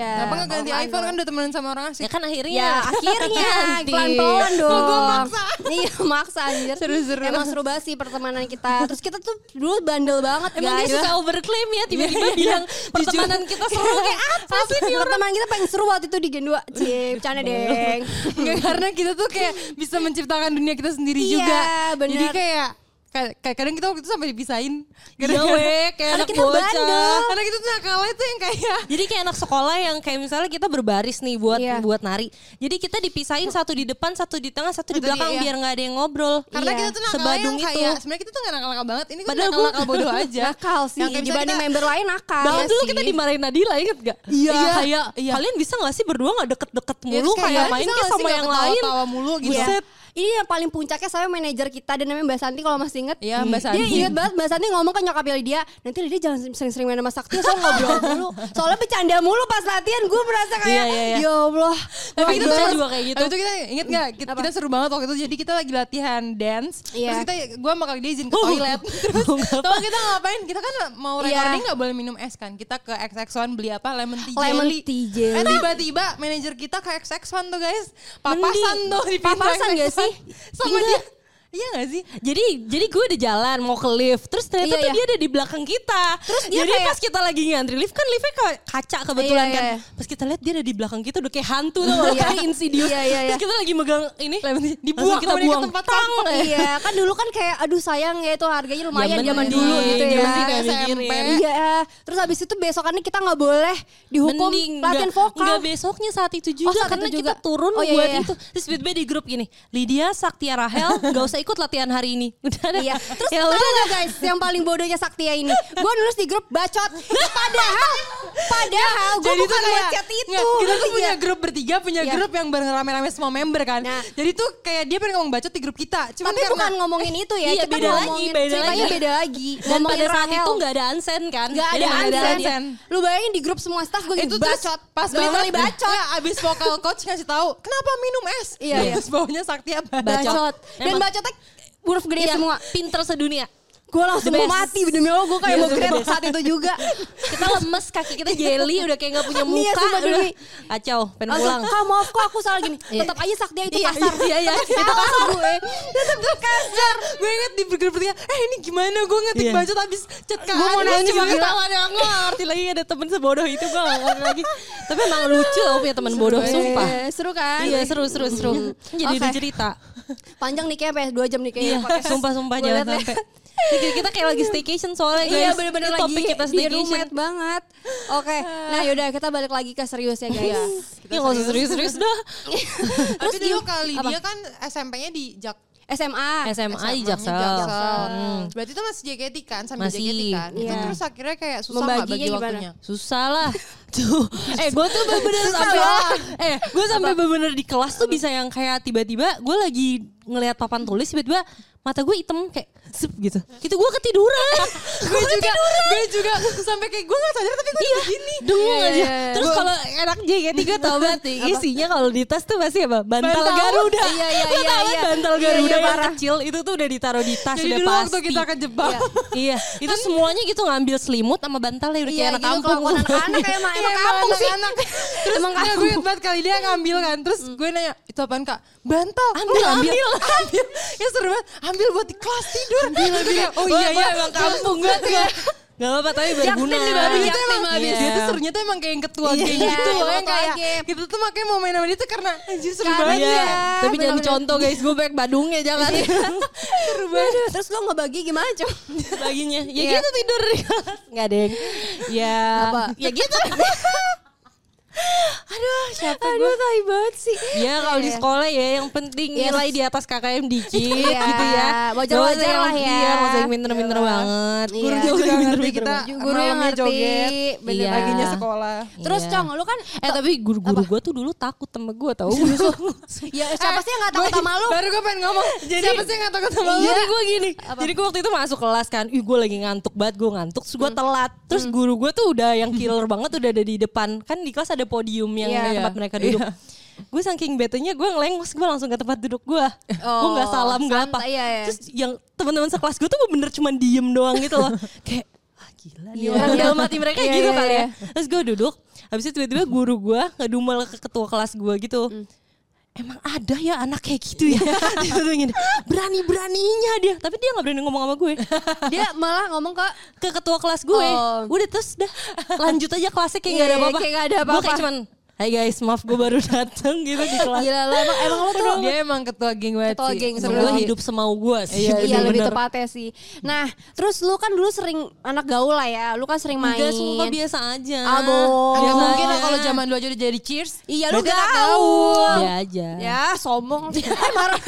C: Iya.
B: Kenapa gak ganti
C: Oh,
B: iPhone kan udah temenan sama orang asik.
D: Ya kan akhirnya.
C: Ya akhirnya
D: Ganti.
C: pelan-pelan dong.
D: Kok gua
C: maksa. Iya maksa anjir.
B: Seru-seru.
C: Emang seru banget sih pertemanan kita. Terus kita tuh dulu bandel banget
D: Emang dia
C: guys.
D: suka overclaim ya tiba-tiba bilang pertemanan kita seru kayak apa sih Fiora?
C: Iya. Pertemanan kita paling seru waktu itu di Gen 2. Cie, bercanda deng.
B: Enggak karena kita tuh kayak bisa menciptakan dunia kita sendiri
C: Iya,
B: juga.
C: bener.
B: Jadi kayak ka- kayak kadang kita waktu itu sampai dipisahin.
D: Iya, weh, kayak
C: Karena
D: anak
C: kita
D: bocah.
C: bandel.
B: Karena kita tuh nakalnya tuh yang kayak
D: Jadi kayak anak sekolah yang kayak misalnya kita berbaris nih buat
C: Iya.
D: buat nari. Jadi kita dipisahin satu di depan, satu di tengah, satu di
B: Satu di-
D: belakang
B: iya.
D: biar nggak ada yang ngobrol.
B: karena
C: Iya,
B: kita tuh nakalnya
D: sebadung
B: yang
D: itu.
B: kayak sebenarnya kita tuh gak nakal-nakal banget. Ini tuh
D: Padahal
B: nakal-nakal
D: gua-
B: bodoh aja.
C: Nakal sih.
B: Yang kayak misalnya
C: Dibanding
B: kita-
C: member lain nakal.
D: Bahkan
C: Iya sih.
D: dulu Nah, kita dimarahin Nadila inget gak?
B: Iya.
D: Kayak
B: Iya.
D: kalian bisa gak sih berdua gak deket-deket
B: Iya,
D: mulu
B: terus
D: kayak main
B: bisa
D: kayak
B: gak sih
D: sama
B: gak
D: yang lain.
B: ketawa-tawa mulu gitu.
C: Iya. Ini yang paling puncaknya saya manajer kita dan namanya Mbak Santi kalau masih inget.
B: Iya, Mbak Santi.
C: Dia inget banget Mbak Santi ngomong ke nyokapnya Lydia, nanti Lydia jangan sering-sering main sama Sakti, ya, soalnya ngobrol mulu. Soalnya bercanda mulu pas latihan, gue merasa kayak,
D: Iya, iya, iya.
C: ya Allah.
B: Tapi
D: Tapi
B: kita
D: kita
B: tuh
D: juga kayak gitu.
B: Habis itu kita inget gak? Kita, kita seru banget waktu itu. Jadi kita lagi latihan dance.
C: Iya.
B: Terus kita, gue sama Kak dia izin
D: Oh.
B: ke toilet. Terus tau kita ngapain? Kita kan mau
C: Iya.
B: recording gak boleh minum es kan. Kita ke XX1 beli apa? Lemon tea
C: Lemon
B: jelly.
C: tea jelly.
B: Eh tiba-tiba manajer kita ke XX1 tuh guys. Papasan
D: Mending.
B: tuh di pintu
C: Papasan gak
B: XX1.
C: sih?
B: Sama
D: Gila.
B: dia. Iya gak sih?
D: Jadi jadi gue udah jalan mau ke lift, terus ternyata
C: Iya,
D: tuh
C: iya.
D: dia ada di belakang kita. Terus
C: dia
D: jadi
C: kayak-
D: pas kita lagi ngantri lift kan liftnya ka- kaca kebetulan
C: Iya, iya,
D: kan. Pas kita lihat dia ada di belakang kita udah kayak hantu tuh
C: Iya.
D: kayak insidious.
C: Iya, iya, iya.
D: Terus kita lagi megang ini
B: Dibuang
D: langsung kita
B: sama dia ke
D: buang.
B: tempat
D: Tang.
B: sampah.
C: iya, kan dulu kan kayak aduh sayang ya itu harganya lumayan
D: Ya,
C: zaman
D: mending.
C: dulu gitu ya.
D: Zaman kita
B: SMP.
C: Iya, terus habis itu besokannya kita nggak boleh dihukum
D: Mending
C: latihan
D: nggak-
C: vokal. Oh,
D: nggak besoknya saat itu juga
C: saat
D: karena
C: itu
D: kita
C: juga.
D: turun
C: Oh, iya,
D: buat
C: iya.
D: itu terus tiba di grup gini Lydia Saktia Rahel nggak usah ikut latihan hari ini udah deh.
C: Iya. Terus
D: ya
C: tau
D: udah
C: gak guys yang paling bodohnya Saktia ini? Gue nulis di grup bacot. Padahal, padahal gue
B: Jadi
C: bukan
B: tuh kayak-
C: ngechat itu.
D: ya,
B: Nggak, kita tuh punya
C: Iya.
B: grup bertiga, punya
C: Iya.
B: grup yang bareng rame-rame semua member kan.
C: Nah.
B: Jadi tuh kayak dia pengen ngomong bacot di grup kita. Cuman
C: Tapi
B: karena,
C: bukan ngomongin itu ya.
D: Iya,
C: kita
D: beda lagi,
C: ngomongin,
D: beda
C: ceritanya
D: lagi.
C: beda lagi.
D: dan pada saat itu
C: nggak
D: nggak ada ansen kan
C: Gak
D: Jadi
C: ada
D: nggak
B: ada
C: ansen.
B: ansen.
C: Lu bayangin di grup semua staff gue gitu
B: itu
C: bacot.
B: terus pas
C: Literally
B: banget
C: bacot.
B: Nggak, abis vokal coach ngasih tahu kenapa minum es
C: Iya, iya.
B: terus bawahnya Saktia
D: Bacot.
C: Bacot. Dan
D: Emang.
C: bacotnya huruf gede
D: Iya,
C: semua.
D: pinter sedunia
C: Gue langsung
D: The
C: mau
D: best.
C: mati demi Allah gue kayak
D: Iya,
C: mau
D: the
C: grab
D: best.
C: saat itu juga.
D: kita lemes kaki kita jelly udah kayak nggak punya
C: Iya,
D: muka
C: sumpah
D: udah
C: demi.
D: kacau pengen pulang
C: Langsung, kak maaf kok aku salah gini.
D: Iya.
C: Tetap aja Saktia itu
D: Iya,
C: kasar.
D: iya, iya.
C: Tetap
D: Itu
C: salah gue.
B: tetap tuh kasar gue inget di grup bertiga eh ini gimana gue ngetik
D: Iya.
B: bacot abis cet ke
D: Gue mau
B: Anies,
D: nanya
B: cuma
D: juga
B: ketawa.
D: yang
C: Iya,
D: ngerti lagi ada temen sebodoh itu gue gak ngerti lagi. Tapi emang lucu loh punya temen bodoh sumpah.
C: Eh, Seru kan?
D: Iya seru seru seru.
C: Oke.
D: Jadi ada cerita.
C: Panjang nih kayak sampai 2 jam nih kayaknya.
D: Iya
C: podcast.
D: sumpah sumpah
C: Gua
D: jangan
C: liat deh.
D: sampai. Kita, kita kayak lagi staycation soalnya guys.
C: Iya bener-bener
D: Ini
C: lagi
D: topik kita
C: di
D: staycation.
C: rumet banget. Oke, nah yaudah kita balik lagi ke serius ya guys.
D: Iya nggak usah serius-serius dah.
B: tapi
C: di-
B: dulu kali
C: apa?
B: dia kan SMP-nya di Jak
C: SMA.
D: SMA di
B: SMA-nya
D: Jaksel.
B: Jaksel.
D: Hmm.
B: Berarti itu masih JKT kan, sambil
D: Masih.
B: JKT kan. Itu
C: Iya.
B: terus akhirnya kayak susah nggak
C: Membaginya
B: bagi
C: gimana?
B: waktunya.
D: Susah lah. Tuh. Eh gue tuh bener-bener sampai eh gue sampai bener-bener di kelas tuh bisa yang kayak tiba-tiba gue lagi ngelihat papan tulis tiba-tiba mata gue hitam kayak sep gitu. Itu gue ketiduran.
B: Gue juga, gue juga sampai kayak gue gak sadar tapi gue udah begini.
D: Dengung
C: Iya,
D: aja.
C: iya, iya.
D: Terus kalau enak JKT gue tau banget nih, isinya kalau di tas tuh pasti apa? Bantal,
B: Bantal.
D: Garuda.
C: Iya, iya,
D: Lu
C: iya,
D: tau kan
C: iya.
D: bantal
C: Iya,
D: Garuda
C: iya,
D: yang
C: parah.
D: kecil itu tuh udah ditaruh di tas
B: Jadi
D: udah
B: dulu
D: pasti.
B: waktu kita kejebak.
D: iya, itu semuanya gitu ngambil selimut sama bantal ya udah kayak
C: Iya,
D: anak
C: gitu
D: kampung.
C: kelakuan anak-anak kayak emang, emang
B: Iya,
C: kampung sih.
B: anak-anak. Terus
C: Emang
B: ya, gue ingat banget kali dia ngambil kan. Terus gue nanya, itu apaan kak? Bantal.
D: Ambil,
B: Enggak,
D: ambil.
B: ambil. Ya seru banget. Ambil buat di kelas tidur. Terus kayak, oh iya, iya.
D: emang
B: Terus
D: kampung gue tuh. Gak apa-apa tapi berguna.
C: Jaktim di
B: Tapi
C: Bali.
B: itu emang
D: Iya.
B: dia tuh serunya tuh emang kayak yang ketua
D: Iya,
B: geng gitu
C: iya,
B: loh yang
C: ketua
B: kayak
C: geng.
B: kita tuh makanya mau main sama dia tuh karena anjir seru
C: Karena-
B: banget
D: Iya,
C: Iya,
D: tapi jangan
C: bener-bener.
D: dicontoh guys, gue banyak Badungnya jangan.
C: Iya. Seru banget. Terus lo ngebagi gimana cuy?
D: Baginya. Ya
C: Iya.
D: gitu tidur. Enggak, Deng. Ya.
C: Apa?
D: Ya gitu.
C: Aduh, siapa gue? Aduh, tai banget sih.
D: Ya kalau di
C: Iya.
D: sekolah ya yang penting
C: Iya.
D: nilai di atas KKM dikit
C: Iya.
D: gitu ya.
C: Wajar-wajar
D: Gak usah yang-
C: lah ya.
D: Iya, gak usah yang pinter-pinter
C: Iya.
D: banget.
C: Iya.
D: Guru
C: Gurunya
B: juga
D: pinter-pinter
B: ngerti kita
D: banget.
C: Gurunya
B: malamnya
C: ngerti,
B: joget
C: bener.
D: Iya.
B: paginya sekolah
C: Terus
D: Iya.
C: Cong, lu kan
D: Eh tapi guru-guru gue tuh dulu takut sama gue tau.
C: ya siapa
B: Eh,
C: sih yang gak takut
B: gue-
C: sama lu?
B: baru gue pengen ngomong siapa sih yang gak takut sama lu
C: Iya.
D: Jadi gue gini, jadi gue waktu itu masuk kelas kan, ih gue lagi ngantuk banget, gue ngantuk,
C: Hmm.
D: terus gue telat, terus guru gue tuh udah yang killer banget, udah ada di depan, kan di kelas ada podium yang
C: Iya.
D: tempat mereka duduk. Gue saking betenya gue ngelengos, gue langsung ke tempat duduk gue, gue nggak salam nggak apa,
C: Oh, santai, iya, iya.
D: terus yang teman-teman sekelas gue tuh bener cuman diem doang gitu loh, kayak ah, gila nih
C: Iya.
D: orang dalam hati mereka
C: Iya,
D: gitu
C: iya,
D: kali
C: iya.
D: ya. Terus gue duduk, habis itu tiba-tiba guru gue ngedumel ke ketua kelas gue gitu.
C: Hmm.
D: Emang ada ya anak kayak gitu ya?
C: Iya.
D: Dia tuh gini, Berani-beraninya dia. Tapi dia gak berani ngomong sama gue.
C: Dia malah ngomong ke
D: Ke ketua kelas gue.
C: Oh.
D: Udah terus dah lanjut aja kelasnya kayak gak ada
C: Iya,
D: apa-apa.
C: kayak nggak ada
D: Gue kayak
C: apa-apa. Iya,
D: cuman, hai guys maaf gue baru dateng gitu di kelas.
C: gila lo emang, emang lu tuh
B: dia emang ketua geng banget
C: Ketua
B: sih.
C: geng,
B: Seru
D: Gue
B: banget.
D: hidup semau gue sih.
C: Iya, lebih
D: bener-bener.
C: tepatnya sih. Nah, terus lu kan dulu sering anak gaul lah ya. Lu kan sering main.
D: Enggak, sumpah biasa aja.
C: Ah, bohong.
B: ya
D: Biasa
B: mungkin
D: aja.
B: lah kalau zaman dulu aja udah jadi cheers Ah,
C: Iya, lu
B: berarti anak
C: gaul.
D: Iya aja.
C: Ya, sombong.
D: Iya.
C: Eh, marah.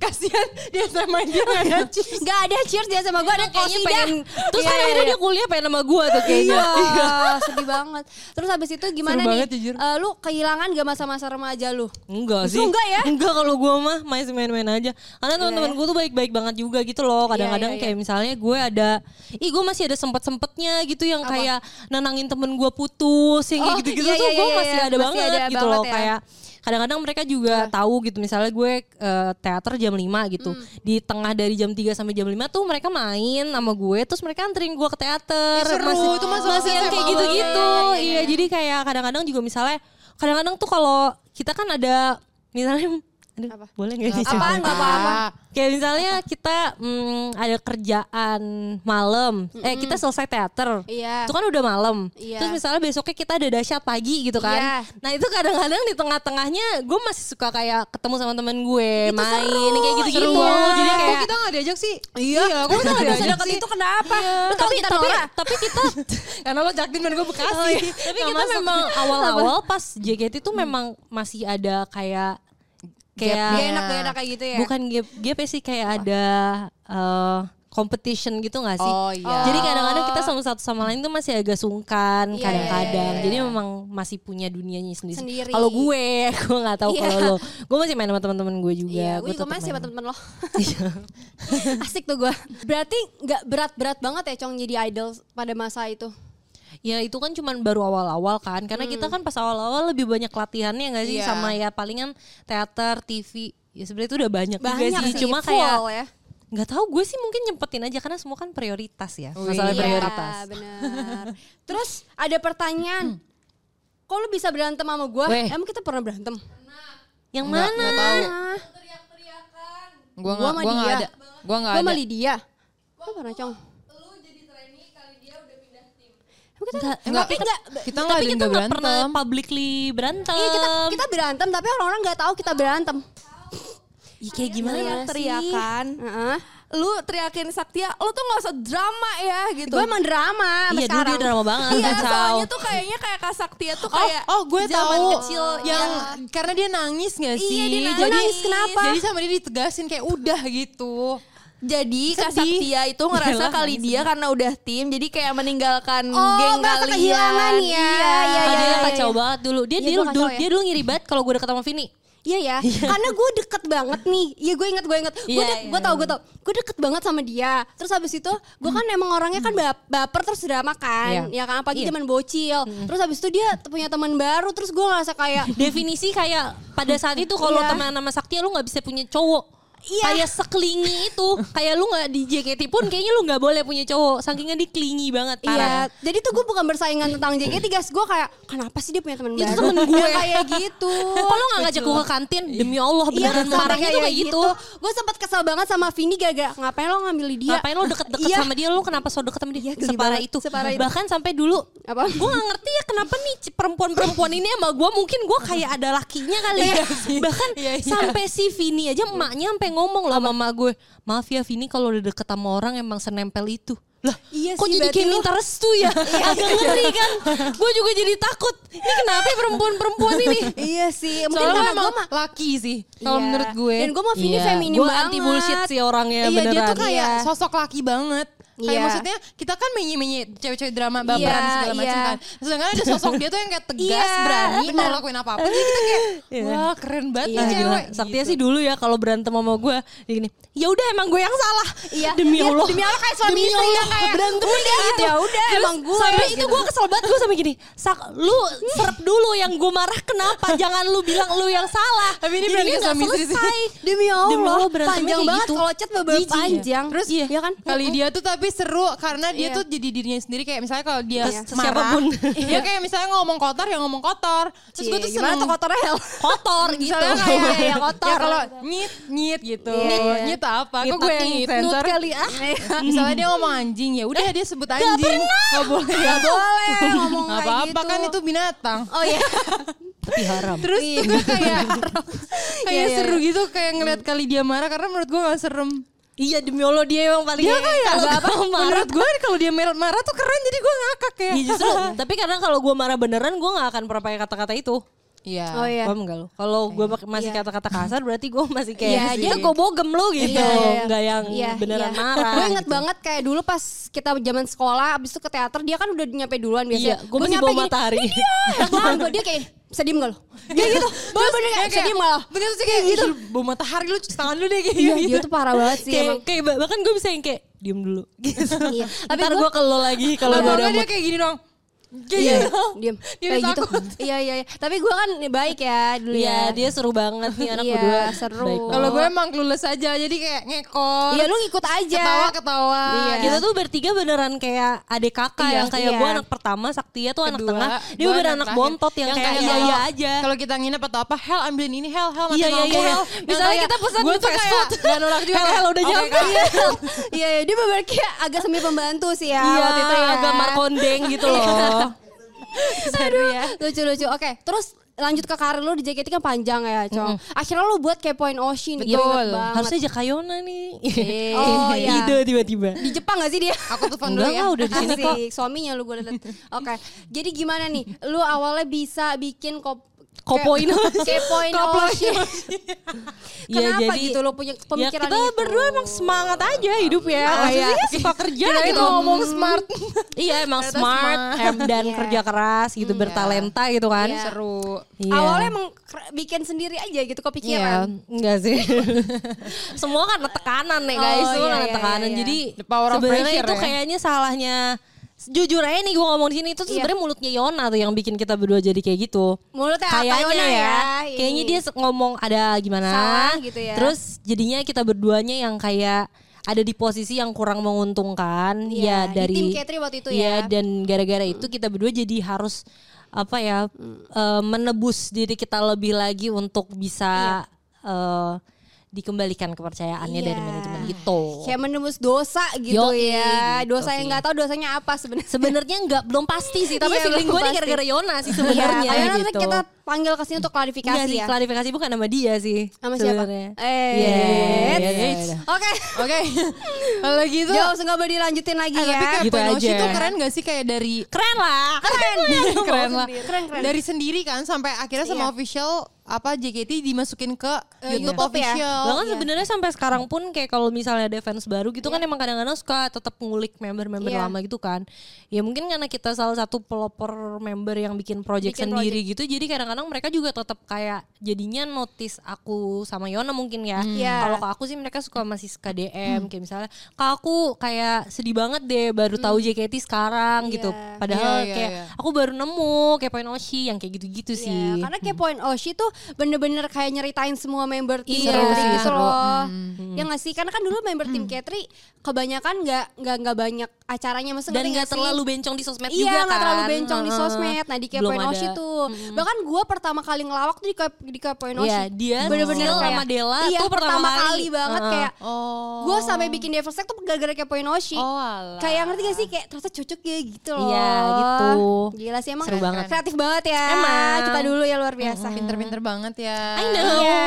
B: kasihan dia sama dia gak ada cheers
C: Gak ada cheers dia sama gue, ada
D: Kayaknya
C: kosida.
D: pengen, terus
C: Iya,
D: kan
C: iya,
D: akhirnya
C: iya.
D: dia kuliah pengen sama gue tuh kayaknya.
C: Iya, sedih banget. Terus habis itu gimana
B: Seru
C: nih?
B: banget, jujur.
C: Eh, lu kehilangan gak masa-masa remaja lu?
D: Enggak
C: Justru
D: sih.
C: enggak ya?
D: Enggak kalau gue mah main- main-main aja. Karena teman-teman gue tuh baik-baik banget juga gitu loh. Kadang-kadang
C: iya, iya.
D: kayak misalnya gue ada, ih gue masih ada sempet-sempetnya gitu yang kayak nenangin temen gue putus, yang kayak
C: Oh,
D: gitu-gitu
C: iya,
D: tuh
C: iya,
D: gue
C: iya,
D: masih
C: iya.
D: ada
C: Masih
D: banget
C: ada
D: gitu
C: banget
D: loh.
C: ya. Iya.
D: Kayak kadang-kadang mereka juga tahu gitu. Misalnya gue eh, teater jam 5 gitu.
C: Hmm.
D: Di tengah dari jam 3 sampai jam 5 tuh mereka main sama gue, terus mereka anterin gue ke teater.
B: Ih, seru.
D: masih
B: Itu masuk
D: masih yang
B: SMA
D: kayak
B: banget.
D: gitu-gitu. Iya, jadi kayak kadang-kadang juga misalnya kadang-kadang tuh kalau kita kan ada misalnya aduh, boleh nggak sih
C: apa-apa.
D: Cak?
C: Apaan, gak apa-apa.
B: Ah.
D: Kayak misalnya kita mm, ada kerjaan malam, eh kita selesai teater,
C: Iya.
D: itu kan udah malam.
C: Iya.
D: Terus misalnya besoknya kita ada dahsyat pagi gitu kan.
C: Iya.
D: Nah itu kadang-kadang di tengah-tengahnya gue masih suka kayak ketemu sama temen gue, main kayak gitu-gitu.
C: seru banget.
D: Jadi
B: kok
D: kayak
B: kita gak diajak sih iya kok kita gak
C: Terus
B: diajak
C: deket
B: sih
C: itu kenapa? Lu tau
D: tapi
C: kita
D: tapi,
C: Nora?
D: tapi kita
B: karena lo jaktim dan gue bekasi
C: ya?
D: tapi
B: Gak
D: kita
B: masuk.
D: memang awal-awal pas JKT itu memang masih ada kayak kayak
C: Gak enak, gak enak kayak gitu ya?
D: bukan gap gap ya sih kayak ada eh, competition gitu gak sih?
B: Oh, iya.
D: Jadi kadang-kadang kita sama satu sama lain tuh masih agak sungkan
C: Iya,
D: kadang-kadang.
C: iya, iya,
D: Jadi memang masih punya dunianya sendiri.
C: Sendiri.
D: Kalau gue, gue nggak tahu
C: Iya.
D: kalau lo. Gue masih main sama teman-teman gue juga.
C: Iya, gue juga
D: tetap
C: masih sama
D: main. Iya.
C: temen-temen lo. Asik tuh gue. Berarti nggak berat-berat banget ya Cong jadi idol pada masa itu.
D: Ya itu kan cuman baru awal-awal kan Karena kita
C: Hmm.
D: kan pas awal-awal lebih banyak latihannya gak sih
B: Iya.
D: Sama ya palingan teater, TV Ya sebenarnya itu udah banyak, juga
C: Banyak
D: sih
C: Iya sih,
D: Cuma
C: full
D: kayak
C: ya.
D: nggak tahu gue sih mungkin nyempetin aja Karena semua kan prioritas ya Masalah
C: Iya,
D: prioritas
C: benar. Terus ada pertanyaan. Kok lu bisa berantem sama gue?
D: Weh.
C: Emang kita pernah berantem?
D: Yang
B: Nggak,
D: mana?
B: nggak tahu.
C: Ah,
B: gue
C: Gua
B: gak
C: sama
B: gue gak
C: dia.
B: ada gue gak
C: gue
B: ada
C: sama Lydia. Gue pernah Cong. Emang kita-
D: Nggak,
C: emang
B: nggak,
C: kita nggak-
B: kita nggak
D: Tapi
B: ada
D: kita
B: yang
D: nggak pernah
B: berantem
D: publicly berantem
C: Iya kita kita berantem tapi orang-orang nggak tahu kita berantem.
D: Ih, kayak gimana?
C: Iya
E: Lu
C: sih.
E: teriakan.
C: Heeh.
E: Lu teriakin Saktia, lu tuh gak usah drama ya gitu.
C: Gue emang drama sampai
D: Iya dulu dia
C: sekarang.
D: drama banget.
E: Iya,
D: kacau.
E: soalnya tuh kayaknya kayak Kak Saktia tuh kayak
B: oh, oh gue
E: zaman
B: tahu
E: kecil
C: iya.
B: yang karena dia nangis gak sih?
E: dia nangis.
B: Jadi
E: Nangis, kenapa?
B: Jadi sama dia ditegasin kayak udah gitu.
E: Jadi Kak
B: Sedih.
E: Saktia itu ngerasa
D: Yalah,
E: kali dia karena udah tim jadi kayak meninggalkan
C: Oh,
E: geng
C: merasa
E: kalian.
C: kehilangan ya. Iya,
D: Ah,
C: iya,
D: dia
C: iya,
D: kacau banget dulu. Dia
C: Iya,
D: dulu,
C: gua kacau
D: dulu-
C: ya.
D: dia dulu ngiri banget kalau gue deket sama Vini.
C: Iya ya, karena gue deket banget nih. Iya gue inget, gue inget. Gue
D: Iya,
C: de- gue tau, gue tau. Gue deket banget sama dia. Terus habis itu, gue kan emang orangnya kan bap- baper terus drama kan. Ya
D: Iya.
C: kan, apalagi
D: Iya.
C: zaman bocil. Terus habis itu dia t- punya teman baru. Terus gue ngerasa kayak,
D: Definisi kayak pada saat itu kalau
C: Iya.
D: teman sama Saktia lu nggak bisa punya cowok.
C: Iya.
D: Kayak seklingi itu, kayak lu nggak di JKT pun kayaknya lu nggak boleh punya cowok. Sakingnya dia klingi
C: iya.
D: banget. parah.
C: Jadi tuh gue bukan bersaingan tentang JKT guys. Gue kayak, kenapa sih dia punya teman baru?
D: Itu temen gue.
C: Ya, kayak gitu.
D: Kok lu nggak ngajak gue ke kantin? Demi Allah Oh, beneran
C: Iya, sampai
D: marahnya tuh kayak gitu.
C: Gue sempet kesel banget sama Vini gara-gara ngapain lo ngambil dia?
D: Ngapain lo deket-deket
C: Iya.
D: sama dia? Lo kenapa so deket sama dia?
C: Iya, geli
D: separah
C: banget,
D: itu.
C: separah itu.
D: Bahkan sampai dulu
C: Apa?
D: gue gak ngerti ya kenapa nih c- perempuan-perempuan ini sama gue mungkin gue kayak ada lakinya kali ya.
C: Iya
D: Bahkan sampai si Vini aja emaknya sampai ngomong loh sama emak gue. Maaf ya Vini kalau udah deket sama orang emang senempel itu. Lah,
C: Iya
D: kok
C: sih,
D: jadi
C: berarti
D: kayak
C: lo-
D: minta restu ya? Agak ngeri kan. Gue juga jadi takut. Ini kenapa ya perempuan-perempuan ini?
C: Iya sih. Mungkin
B: Soalnya
C: karena
B: emang
C: gue mah
B: laki sih kalau
C: Iya.
B: menurut gue.
C: Dan gue mah Vini
D: Iya,
C: feminim
D: gua
C: banget.
D: anti bullshit sih orangnya
B: Iya dia
D: beneran.
B: tuh kayak
C: Iya.
B: sosok laki banget. Kayak
C: Iya.
B: maksudnya kita kan menyi-menyi cewek-cewek drama baperan
C: Iya,
B: segala macam
C: iya.
B: kan. Sedangkan ada sosok dia tuh yang kayak tegas,
C: Iya,
B: berani, mau
C: bener.
B: lakuin apa-apa. Jadi kita kayak wah keren banget
D: Iya,
B: nih
D: gila.
B: cewek.
D: Saktia sih dulu ya kalau berantem sama gue gini. Ya udah emang gue yang salah.
C: Iya.
D: Demi
C: Iya,
D: Allah.
C: demi Allah kayak suami istri yang kayak,
D: berantem
C: udah,
D: gitu.
C: ya udah,
D: Terus
C: emang gue,
D: Sampai itu
C: gitu.
D: gue kesel banget gue sampai gini. Sak, lu serap dulu yang gue marah kenapa? Jangan lu bilang lu yang salah.
B: Tapi ini
D: Jadinya
B: berarti
D: nggak
B: suami istri sih.
D: selesai.
C: Demi Allah,
D: Demi Allah berantemnya
C: panjang
D: kayak
C: banget
D: gitu.
C: kalau chat beberapa
D: Jijik.
C: panjang.
D: Terus,
C: iya.
D: iya.
C: kan?
B: Kali dia tuh tapi seru karena dia
C: Iya.
B: tuh jadi dirinya sendiri kayak misalnya kalau dia
D: Iya.
B: marah,
D: Siapapun.
B: dia kayak misalnya ngomong kotor ya ngomong kotor. Terus gue tuh
C: Iya, gimana
B: seneng
C: tuh kotornya Hel?
D: Kotor gitu.
B: misalnya kayak
C: Iya,
B: ya
C: kotor.
B: kalau nyit nyit gitu.
C: Iya.
B: Nyit apa? Kok
D: Ngitut,
B: gue yang
D: ngitut
B: sensor?
D: kali
C: ya?
D: ah.
B: Misalnya dia ngomong anjing ya
C: Eh,
B: udah dia sebut anjing. Gak boleh.
C: Gak boleh ngomong kayak gitu.
B: Gak Ya apa-apa kan itu binatang.
C: Oh iya.
D: Tapi haram.
B: Terus tuh gue kayak
C: Iya,
B: kayak
C: iya,
B: seru gitu kayak ngeliat kali dia marah karena menurut gue gak serem.
D: Iya demi Allah dia emang paling
B: Dia kayak
D: kalau
B: apa?
D: gua marah
B: Menurut gue kan kalau dia marah, marah tuh keren jadi gue ngakak ya.
D: Iya justru, tapi karena kalau gue marah beneran gue nggak akan pernah pakai kata-kata itu.
B: Iya.
C: Oh iya.
D: Paham gak lo? Kalau gue masih
C: Iya.
D: kata-kata kasar berarti gue masih
C: Iya,
D: kayak dia
C: sih.
D: gue bogem lo gitu.
C: Iya, iya, iya.
D: Nggak yang
C: Iya,
D: beneran
C: iya.
D: marah. gitu.
C: Gue inget banget kayak dulu pas kita zaman sekolah, abis itu ke teater, dia kan udah nyampe duluan biasanya.
D: Iya, gue masih
C: nyampe
D: bawa
C: gini,
D: matahari.
C: "Wah, gua-" dia kayak sedih gak lo? Dia gitu, bener-bener kayak sedih gak lo?
B: Bener tuh kayak gitu. Bawa matahari lu cuci tangan lu deh kayak
C: Iya,
B: gitu.
C: dia tuh parah banget sih emang.
D: kayak, kayak bah- bahkan gue bisa yang kayak diem dulu. Gitu.
C: Iya. Tapi
D: Ntar gue ke lo lagi kalau gue
B: Kalau
D: udah
B: enggak
D: mood.
B: dia kayak gini dong. Kayak
C: Iya,
B: gitu.
C: diam.
B: Dia
C: Kayak gitu.
B: takut.
C: Iya, iya, iya. Tapi gue kan baik ya dulu
D: Iya
C: ya.
D: dia seru banget nih anak
C: Iya,
D: berdua.
C: seru.
D: Baik Iya. banget.
B: Kalau gue emang clueless aja jadi kayak ngekor.
C: Iya, lu ngikut aja.
B: Ketawa-ketawa.
C: Iya.
D: Kita tuh bertiga beneran kayak adik kakak
C: Iya,
D: yang kayak
C: iya.
D: gue anak pertama, Saktia tuh anak
B: Kedua,
D: tengah, dia
B: gue
D: beneran anak
B: terakhir.
D: bontot yang, kayak iya
B: kalau-
D: iya aja.
B: Kalau kita nginep atau apa, Hel ambilin ini, Hel, Hel
D: Iya, iya, iya.
B: Misalnya kita pesan gue tuh kayak nggak nolak juga.
D: Hel,
B: kayak,
D: Hel, udah
B: "Oke,
D: nyampe."
B: Kak."
C: Iya, iya, dia bener kayak agak sambil pembantu sih ya
D: Iya,
C: waktu itu ya.
D: agak markondeng gitu loh.
C: Aduh, lucu-lucu. Oke, terus lanjut ke karir lu di JKT kan panjang ya, Cong. Akhirnya lu buat Kepoin Oshin.
D: Iya,
C: Betul.
D: Harusnya Jakayona nih.
C: Oh, iya.
D: Ide tiba-tiba.
C: di Jepang gak sih dia?
B: Aku telepon dulu
D: Enggak
B: ya.
D: lah, udah di sini
C: Asik,
D: kok.
C: Suaminya lu gue liat. Oke, jadi gimana nih? Lu awalnya bisa bikin kop
D: Kopoin Oshin.
C: Kepoin
D: Koploin
C: Oshin. Kenapa gitu lu punya
D: Iya, ya
C: pemikiran
D: kita
C: itu? Oh,
D: berdua emang semangat aja hidup ya. Maksudnya
B: iya.
D: suka kerja
B: Kirain
D: gitu.
B: mau ngomong smart.
D: Iya emang
B: Ternyata
D: smart,
B: smart.
D: em, dan
C: Iya.
D: kerja keras gitu, bertalenta gitu kan.
C: Iya.
B: Seru.
D: Iya.
C: Awalnya emang ker- bikin sendiri aja gitu kepikiran.
D: enggak sih. Semua kan ada tekanan nih guys,
C: Oh,
D: semua
C: iya,
D: kan ada
C: iya,
D: tekanan.
C: iya.
D: Jadi
B: The power of
D: sebenarnya
B: pressure
D: itu
B: ya.
D: kayaknya salahnya jujur aja nih gue ngomong di sini itu tuh
C: Iya.
D: sebenarnya mulutnya Yona tuh yang bikin kita berdua jadi kayak gitu.
C: Mulutnya apa,
D: kayaknya
C: Yona
D: ya,
C: ya?
D: kayaknya
C: Ih.
D: dia se- ngomong ada gimana,
C: Salah gitu ya.
D: terus jadinya kita berduanya yang kayak ada di posisi yang kurang menguntungkan
C: Iya,
D: ya
C: di
D: dari
C: tim Katri waktu itu
D: Iya,
C: ya.
D: dan gara-gara itu kita berdua jadi harus apa ya eh, menebus diri kita lebih lagi untuk bisa eh, dikembalikan kepercayaannya dari
C: Iya.
D: manajemen gitu.
C: Kayak menembus dosa gitu
D: Yoi,
C: ya.
D: gitu
C: Dosa yang
D: sih.
C: nggak tahu dosanya apa sebenarnya.
D: Sebenarnya nggak belum pasti sih, tapi
C: Iya,
D: feeling
C: belum
D: gue nih
C: pasti.
D: gara-gara Yona sih
C: Iya,
D: sebenarnya
C: akhirnya nanti
D: gitu.
C: kita panggil ke sini untuk
D: Iya
C: klarifikasi
D: sih,
C: ya.
D: klarifikasi bukan sama dia sih.
C: Sama siapa?
D: sebenarnya.
C: Eh.
D: Iya, iya, iya, iya.
C: Oke.
B: Oke. Kalau gitu
C: Jauh nggak boleh dilanjutin lagi
B: eh,
C: ya.
B: tapi kayak
D: Gitu
B: Poinoshi
D: aja.
B: tuh keren gak sih kayak dari
D: Keren lah.
C: Keren.
B: keren lah.
C: Keren, keren.
B: Dari sendiri kan sampai akhirnya sama
C: Iya.
B: official apa JKT dimasukin ke YouTube,
C: YouTube ya.
B: official.
D: Bahkan sebenarnya sampai sekarang pun kayak kalau misalnya ada fans baru gitu kan emang kadang-kadang suka tetap ngulik member-member
C: Iya.
D: lama gitu kan. Ya mungkin karena kita salah satu pelopor member yang bikin project
C: Bikin
D: sendiri gitu jadi kadang-kadang mereka juga tetap kayak jadinya notice aku sama Yona mungkin ya.
C: Iya. Hmm.
D: Kalau ke aku sih mereka suka masih suka DM kayak misalnya kak aku kayak sedih banget deh baru tahu JKT sekarang gitu.
C: Hmm. Iya.
D: Padahal
B: Iya, iya,
D: kayak
B: iya.
D: aku baru nemu kayak Poinoshi yang kayak gitu-gitu
C: Iya,
D: sih. Hmm.
C: karena kayak point Oshi tuh bener-bener kayak nyeritain semua member tim
D: Iya. Hmm,
C: K3
D: Seru sih,
C: gitu
D: seru.
C: loh. Ya nggak sih? Karena kan dulu member
D: Hmm.
C: tim K3 kebanyakan nggak nggak nggak banyak acaranya mesti
D: dan nggak terlalu bencong di sosmed
C: Iya
D: juga kan.
C: nggak terlalu bencong di
D: Heeh.
C: sosmed. Nah di kayak
D: Belum
C: point
D: ada. Hmm.
C: Oshi tuh, bahkan gue pertama kali ngelawak tuh di kayak di kayak point Oshi.
D: Iya, dia
C: bener-bener
D: Sil
C: kayak
D: sama Della
C: iya,
D: tuh pertama kali.
C: kali banget
D: Heeh.
C: kayak
B: Oh.
C: gue sampai bikin Devil Sect tuh gara-gara kayak point Oshi.
B: Oh, alah.
C: Kayak ngerti gak sih kayak ternyata cocok ya gitu loh.
D: Iya, gitu.
C: Gila sih emang
D: Seru banget.
C: kreatif banget ya.
D: Emang.
C: Kita dulu ya luar biasa.
B: pinter-pinter banget ya.
D: I know.
C: Iya.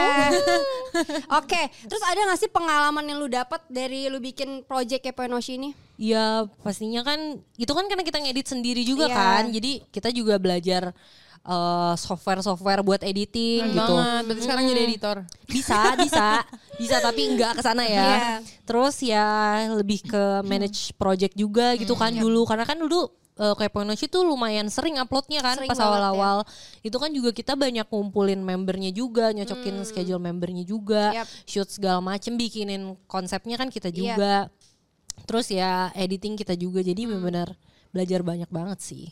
C: Oke, terus ada gak sih pengalaman yang lu dapat dari lu bikin project Kepoenoshi ini?
D: Ya pastinya kan itu kan karena kita ngedit sendiri juga
C: Iya.
D: kan. Jadi kita juga belajar eh, software-software buat editing
B: Keren
D: gitu.
B: banget. Berarti sekarang jadi editor.
D: Bisa, bisa, bisa tapi nggak ke sana ya.
C: Iya.
D: Terus ya lebih ke manage project juga gitu
C: Hmm,
D: kan
C: iya.
D: dulu karena kan dulu eh, kayak Poinoshi tuh lumayan sering uploadnya kan
C: Sering
D: pas
C: banget ya.
D: awal-awal itu kan juga kita banyak ngumpulin membernya juga nyocokin schedule membernya juga
C: Hmm. Yap.
D: shoot segala macem bikinin konsepnya kan kita
C: Iya.
D: juga terus ya editing kita juga jadi
C: Hmm.
D: benar-benar belajar banyak banget sih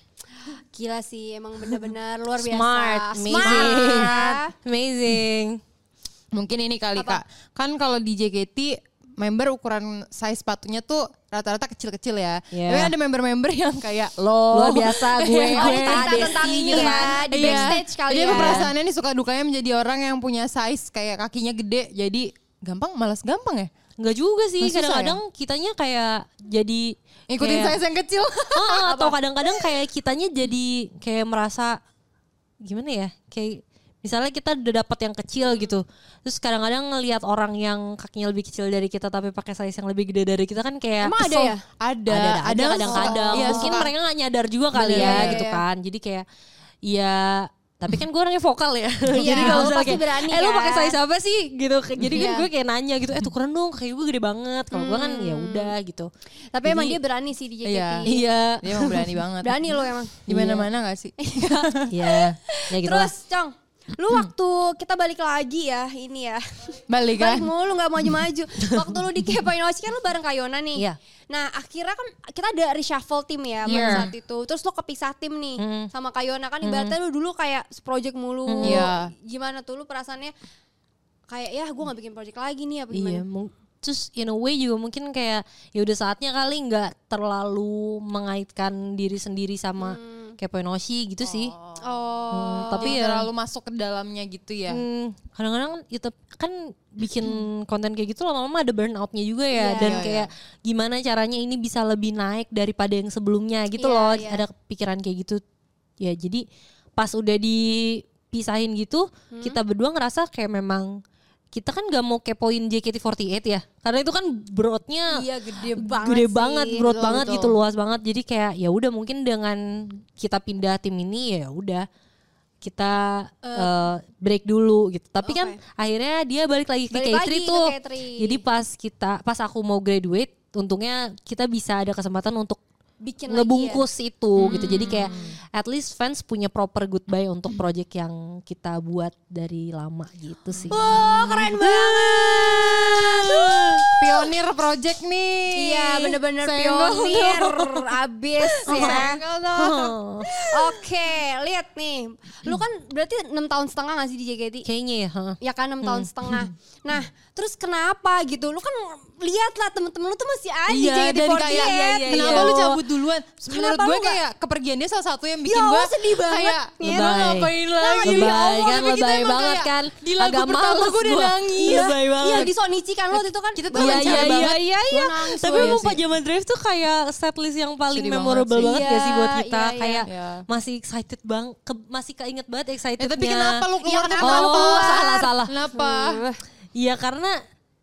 C: Gila sih, emang bener-bener luar biasa.
D: smart amazing
C: Smart.
D: amazing
B: Mungkin ini kali Kak. Kan kalau di JKT member ukuran size sepatunya tuh rata-rata kecil-kecil ya.
D: Iya.
B: Tapi ada member-member yang kayak lo.
D: luar biasa gue
C: Oh,
D: gue
C: cerita tentang ini
D: gitu
C: ya,
D: kan.
C: di
B: Iya.
C: backstage kali
B: Jadi
C: ya.
B: aku perasaannya nih suka dukanya menjadi orang yang punya size kayak kakinya gede. Jadi gampang malas gampang ya.
D: Enggak juga sih,
B: Nggak susah
D: kadang-kadang kitanya kayak jadi
B: Ikutin
D: kayak-
B: size yang kecil.
D: Ah, atau kadang-kadang kayak kitanya jadi kayak merasa gimana ya? Kayak misalnya kita udah dapat yang kecil gitu. Terus kadang-kadang ngelihat orang yang kakinya lebih kecil dari kita tapi pakai size yang lebih gede dari kita kan kayak
C: Emang ada kan
D: kesel.
C: ya?
B: ada,
D: Ada ada
B: yang
D: kadang-kadang.
B: suka- iya,
D: Mungkin
B: suka-
D: mereka nggak nyadar juga kali
C: Bener,
D: ya
C: iya,
D: gitu
C: iya.
D: kan. Jadi kayak iya tapi kan gue orangnya vokal ya
C: Iya,
D: Jadi
C: lu
D: kalau misalnya
C: pasti
D: kayak,
C: berani
D: Eh lu
C: kan?"
D: pakai size apa sih gitu Jadi kan
C: Iya.
D: gue kayak nanya gitu Eh tukeran dong kayak gue gede banget Kalau gue kan
C: Hmm.
D: ya udah gitu
C: Tapi emang
D: Jadi-
C: dia berani sih di JKT.
B: Iya.
D: Iya
B: Dia emang berani banget.
C: Berani lo emang.
B: Di mana-mana gak sih?
D: Iya Ya gitu lah Hmm.
C: Terus, Cong, lu waktu kita balik lagi ya ini ya.
B: Balik
C: Balik
B: kan?
C: mulu nggak mau maju-maju. Waktu lu di Kepoinoshi kan lu bareng Kayona nih.
D: Iya.
C: Nah akhirnya kan kita ada reshuffle tim ya pada
B: Iya.
C: saat itu. Terus lu kepisah tim nih sama Kayona kan ibaratnya lu dulu kayak project mulu.
B: Iya.
C: Gimana tuh lu perasaannya? Kayak ya gue nggak bikin project lagi nih apa gimana?
D: Iya mung- Terus in a way juga mungkin kayak ya udah saatnya kali nggak terlalu mengaitkan diri sendiri sama
C: Hmm.
D: Kepoinoshi gitu sih
C: Oh.
D: Hmm, Tapi
B: Jadi
D: ya
B: terlalu masuk ke dalamnya gitu ya.
D: Hmm, kadang-kadang itu kan bikin konten kayak gitu lama-lama ada burnoutnya juga ya dan
B: Iya,
D: kayak gimana caranya ini bisa lebih naik daripada yang sebelumnya gitu
C: Iya,
D: loh
C: iya.
D: ada pikiran kayak gitu ya jadi pas udah dipisahin gitu kita berdua ngerasa kayak memang kita kan gak mau kepoin JKT48 ya karena itu kan broadnya
C: Iya gede banget.
D: gede
C: sih.
D: banget broad
B: betul,
D: banget
B: betul.
D: gitu luas banget jadi kayak ya udah mungkin dengan kita pindah tim ini ya udah kita eh, break dulu gitu tapi kan akhirnya dia balik lagi ke
C: Balik
D: K3
C: lagi ke
D: tuh
C: K3.
D: jadi pas kita pas aku mau graduate untungnya kita bisa ada kesempatan untuk
C: Bikin ya.
D: ngebungkus itu gitu jadi kayak
C: Hmm.
D: at least fans punya proper goodbye untuk project yang kita buat dari lama gitu sih
C: Oh keren banget.
B: Pionir project nih.
C: Iya bener-bener
B: Senggol
C: pionir abis ya.
D: Oh.
C: Oke, lihat nih. Lu kan berarti 6 tahun setengah gak sih di JKT?
D: kayaknya ya ha.
C: Ya kan 6
B: Hmm.
C: tahun setengah. Nah, terus kenapa gitu? Lu kan lihat lah temen-temen lu tuh masih ada
B: Iya,
C: di
B: dari
C: JKT48.
B: kayak kenapa lu cabut duluan? Menurut
C: Kenapa lu
B: gue
C: nggak-
B: kayak kepergian dia salah satu yang bikin
C: Ya
B: gue
C: Allah, sedih banget, Iya.
B: Kayak
C: Nyet.
B: "Gua ngapain lagi?
D: Lebay
B: Ya Allah,
D: kan
B: tapi kita
D: lebay
B: emang
D: banget
B: kayak
D: kan.
B: Di lagu
D: Agak
B: pertama
D: males
B: gue udah
D: gua.
B: nangis.
D: Lebay banget.
C: Iya, lagi Sonichi kan lo waktu itu kan.
B: Kita tuh
C: Gua
D: Iya
B: lancar
C: wawancara
D: iya iya
C: banget.
D: iya iya.
C: Gua nangis
D: Tapi
C: loh.
D: emang
C: Iya
D: Pak Jaman Drive tuh kayak setlist yang paling
B: Sedih banget
D: memorable
B: sih.
D: banget, gak sih buat
C: Iya,
D: kita
C: iya,
D: kayak
B: iya.
D: masih excited bang, ke- masih keinget banget
B: Ya,
D: excitednya.
B: tapi kenapa lu keluar?
C: Iya,
B: kenapa lu
D: Oh,
B: keluar?
D: salah, salah.
B: Kenapa?
D: Iya karena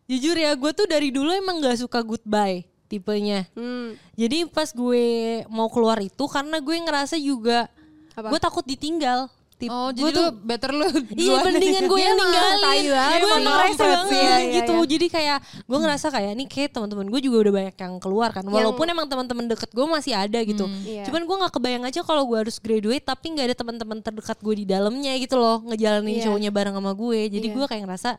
D: jujur ya gue tuh dari dulu emang gak suka goodbye tipenya.
C: Hmm.
D: Jadi pas gue mau keluar itu karena gue ngerasa juga
C: Apa?
D: gue takut ditinggal. Tip-
B: Oh,
D: gue
B: jadi
D: tuh-
B: lu better lu.
D: Iya
B: duluan.
D: mendingan gue
C: Dia
D: yang
C: emang
D: ninggalin
C: tai banget.
D: Gue
C: Emang
D: ngerasa
C: kampret
D: banget
C: sih, iya, iya,
D: gitu
C: iya.
D: Jadi kayak gue ngerasa kayak nih kayak teman-teman gue juga udah banyak yang keluar kan Walaupun emang teman-teman deket gue masih ada gitu
C: Iya.
D: Cuman gue gak kebayang aja kalau gue harus graduate Tapi gak ada teman-teman terdekat gue di dalamnya gitu loh Ngejalanin
C: Iya.
D: shownya bareng sama gue Jadi
C: Iya.
D: gue kayak ngerasa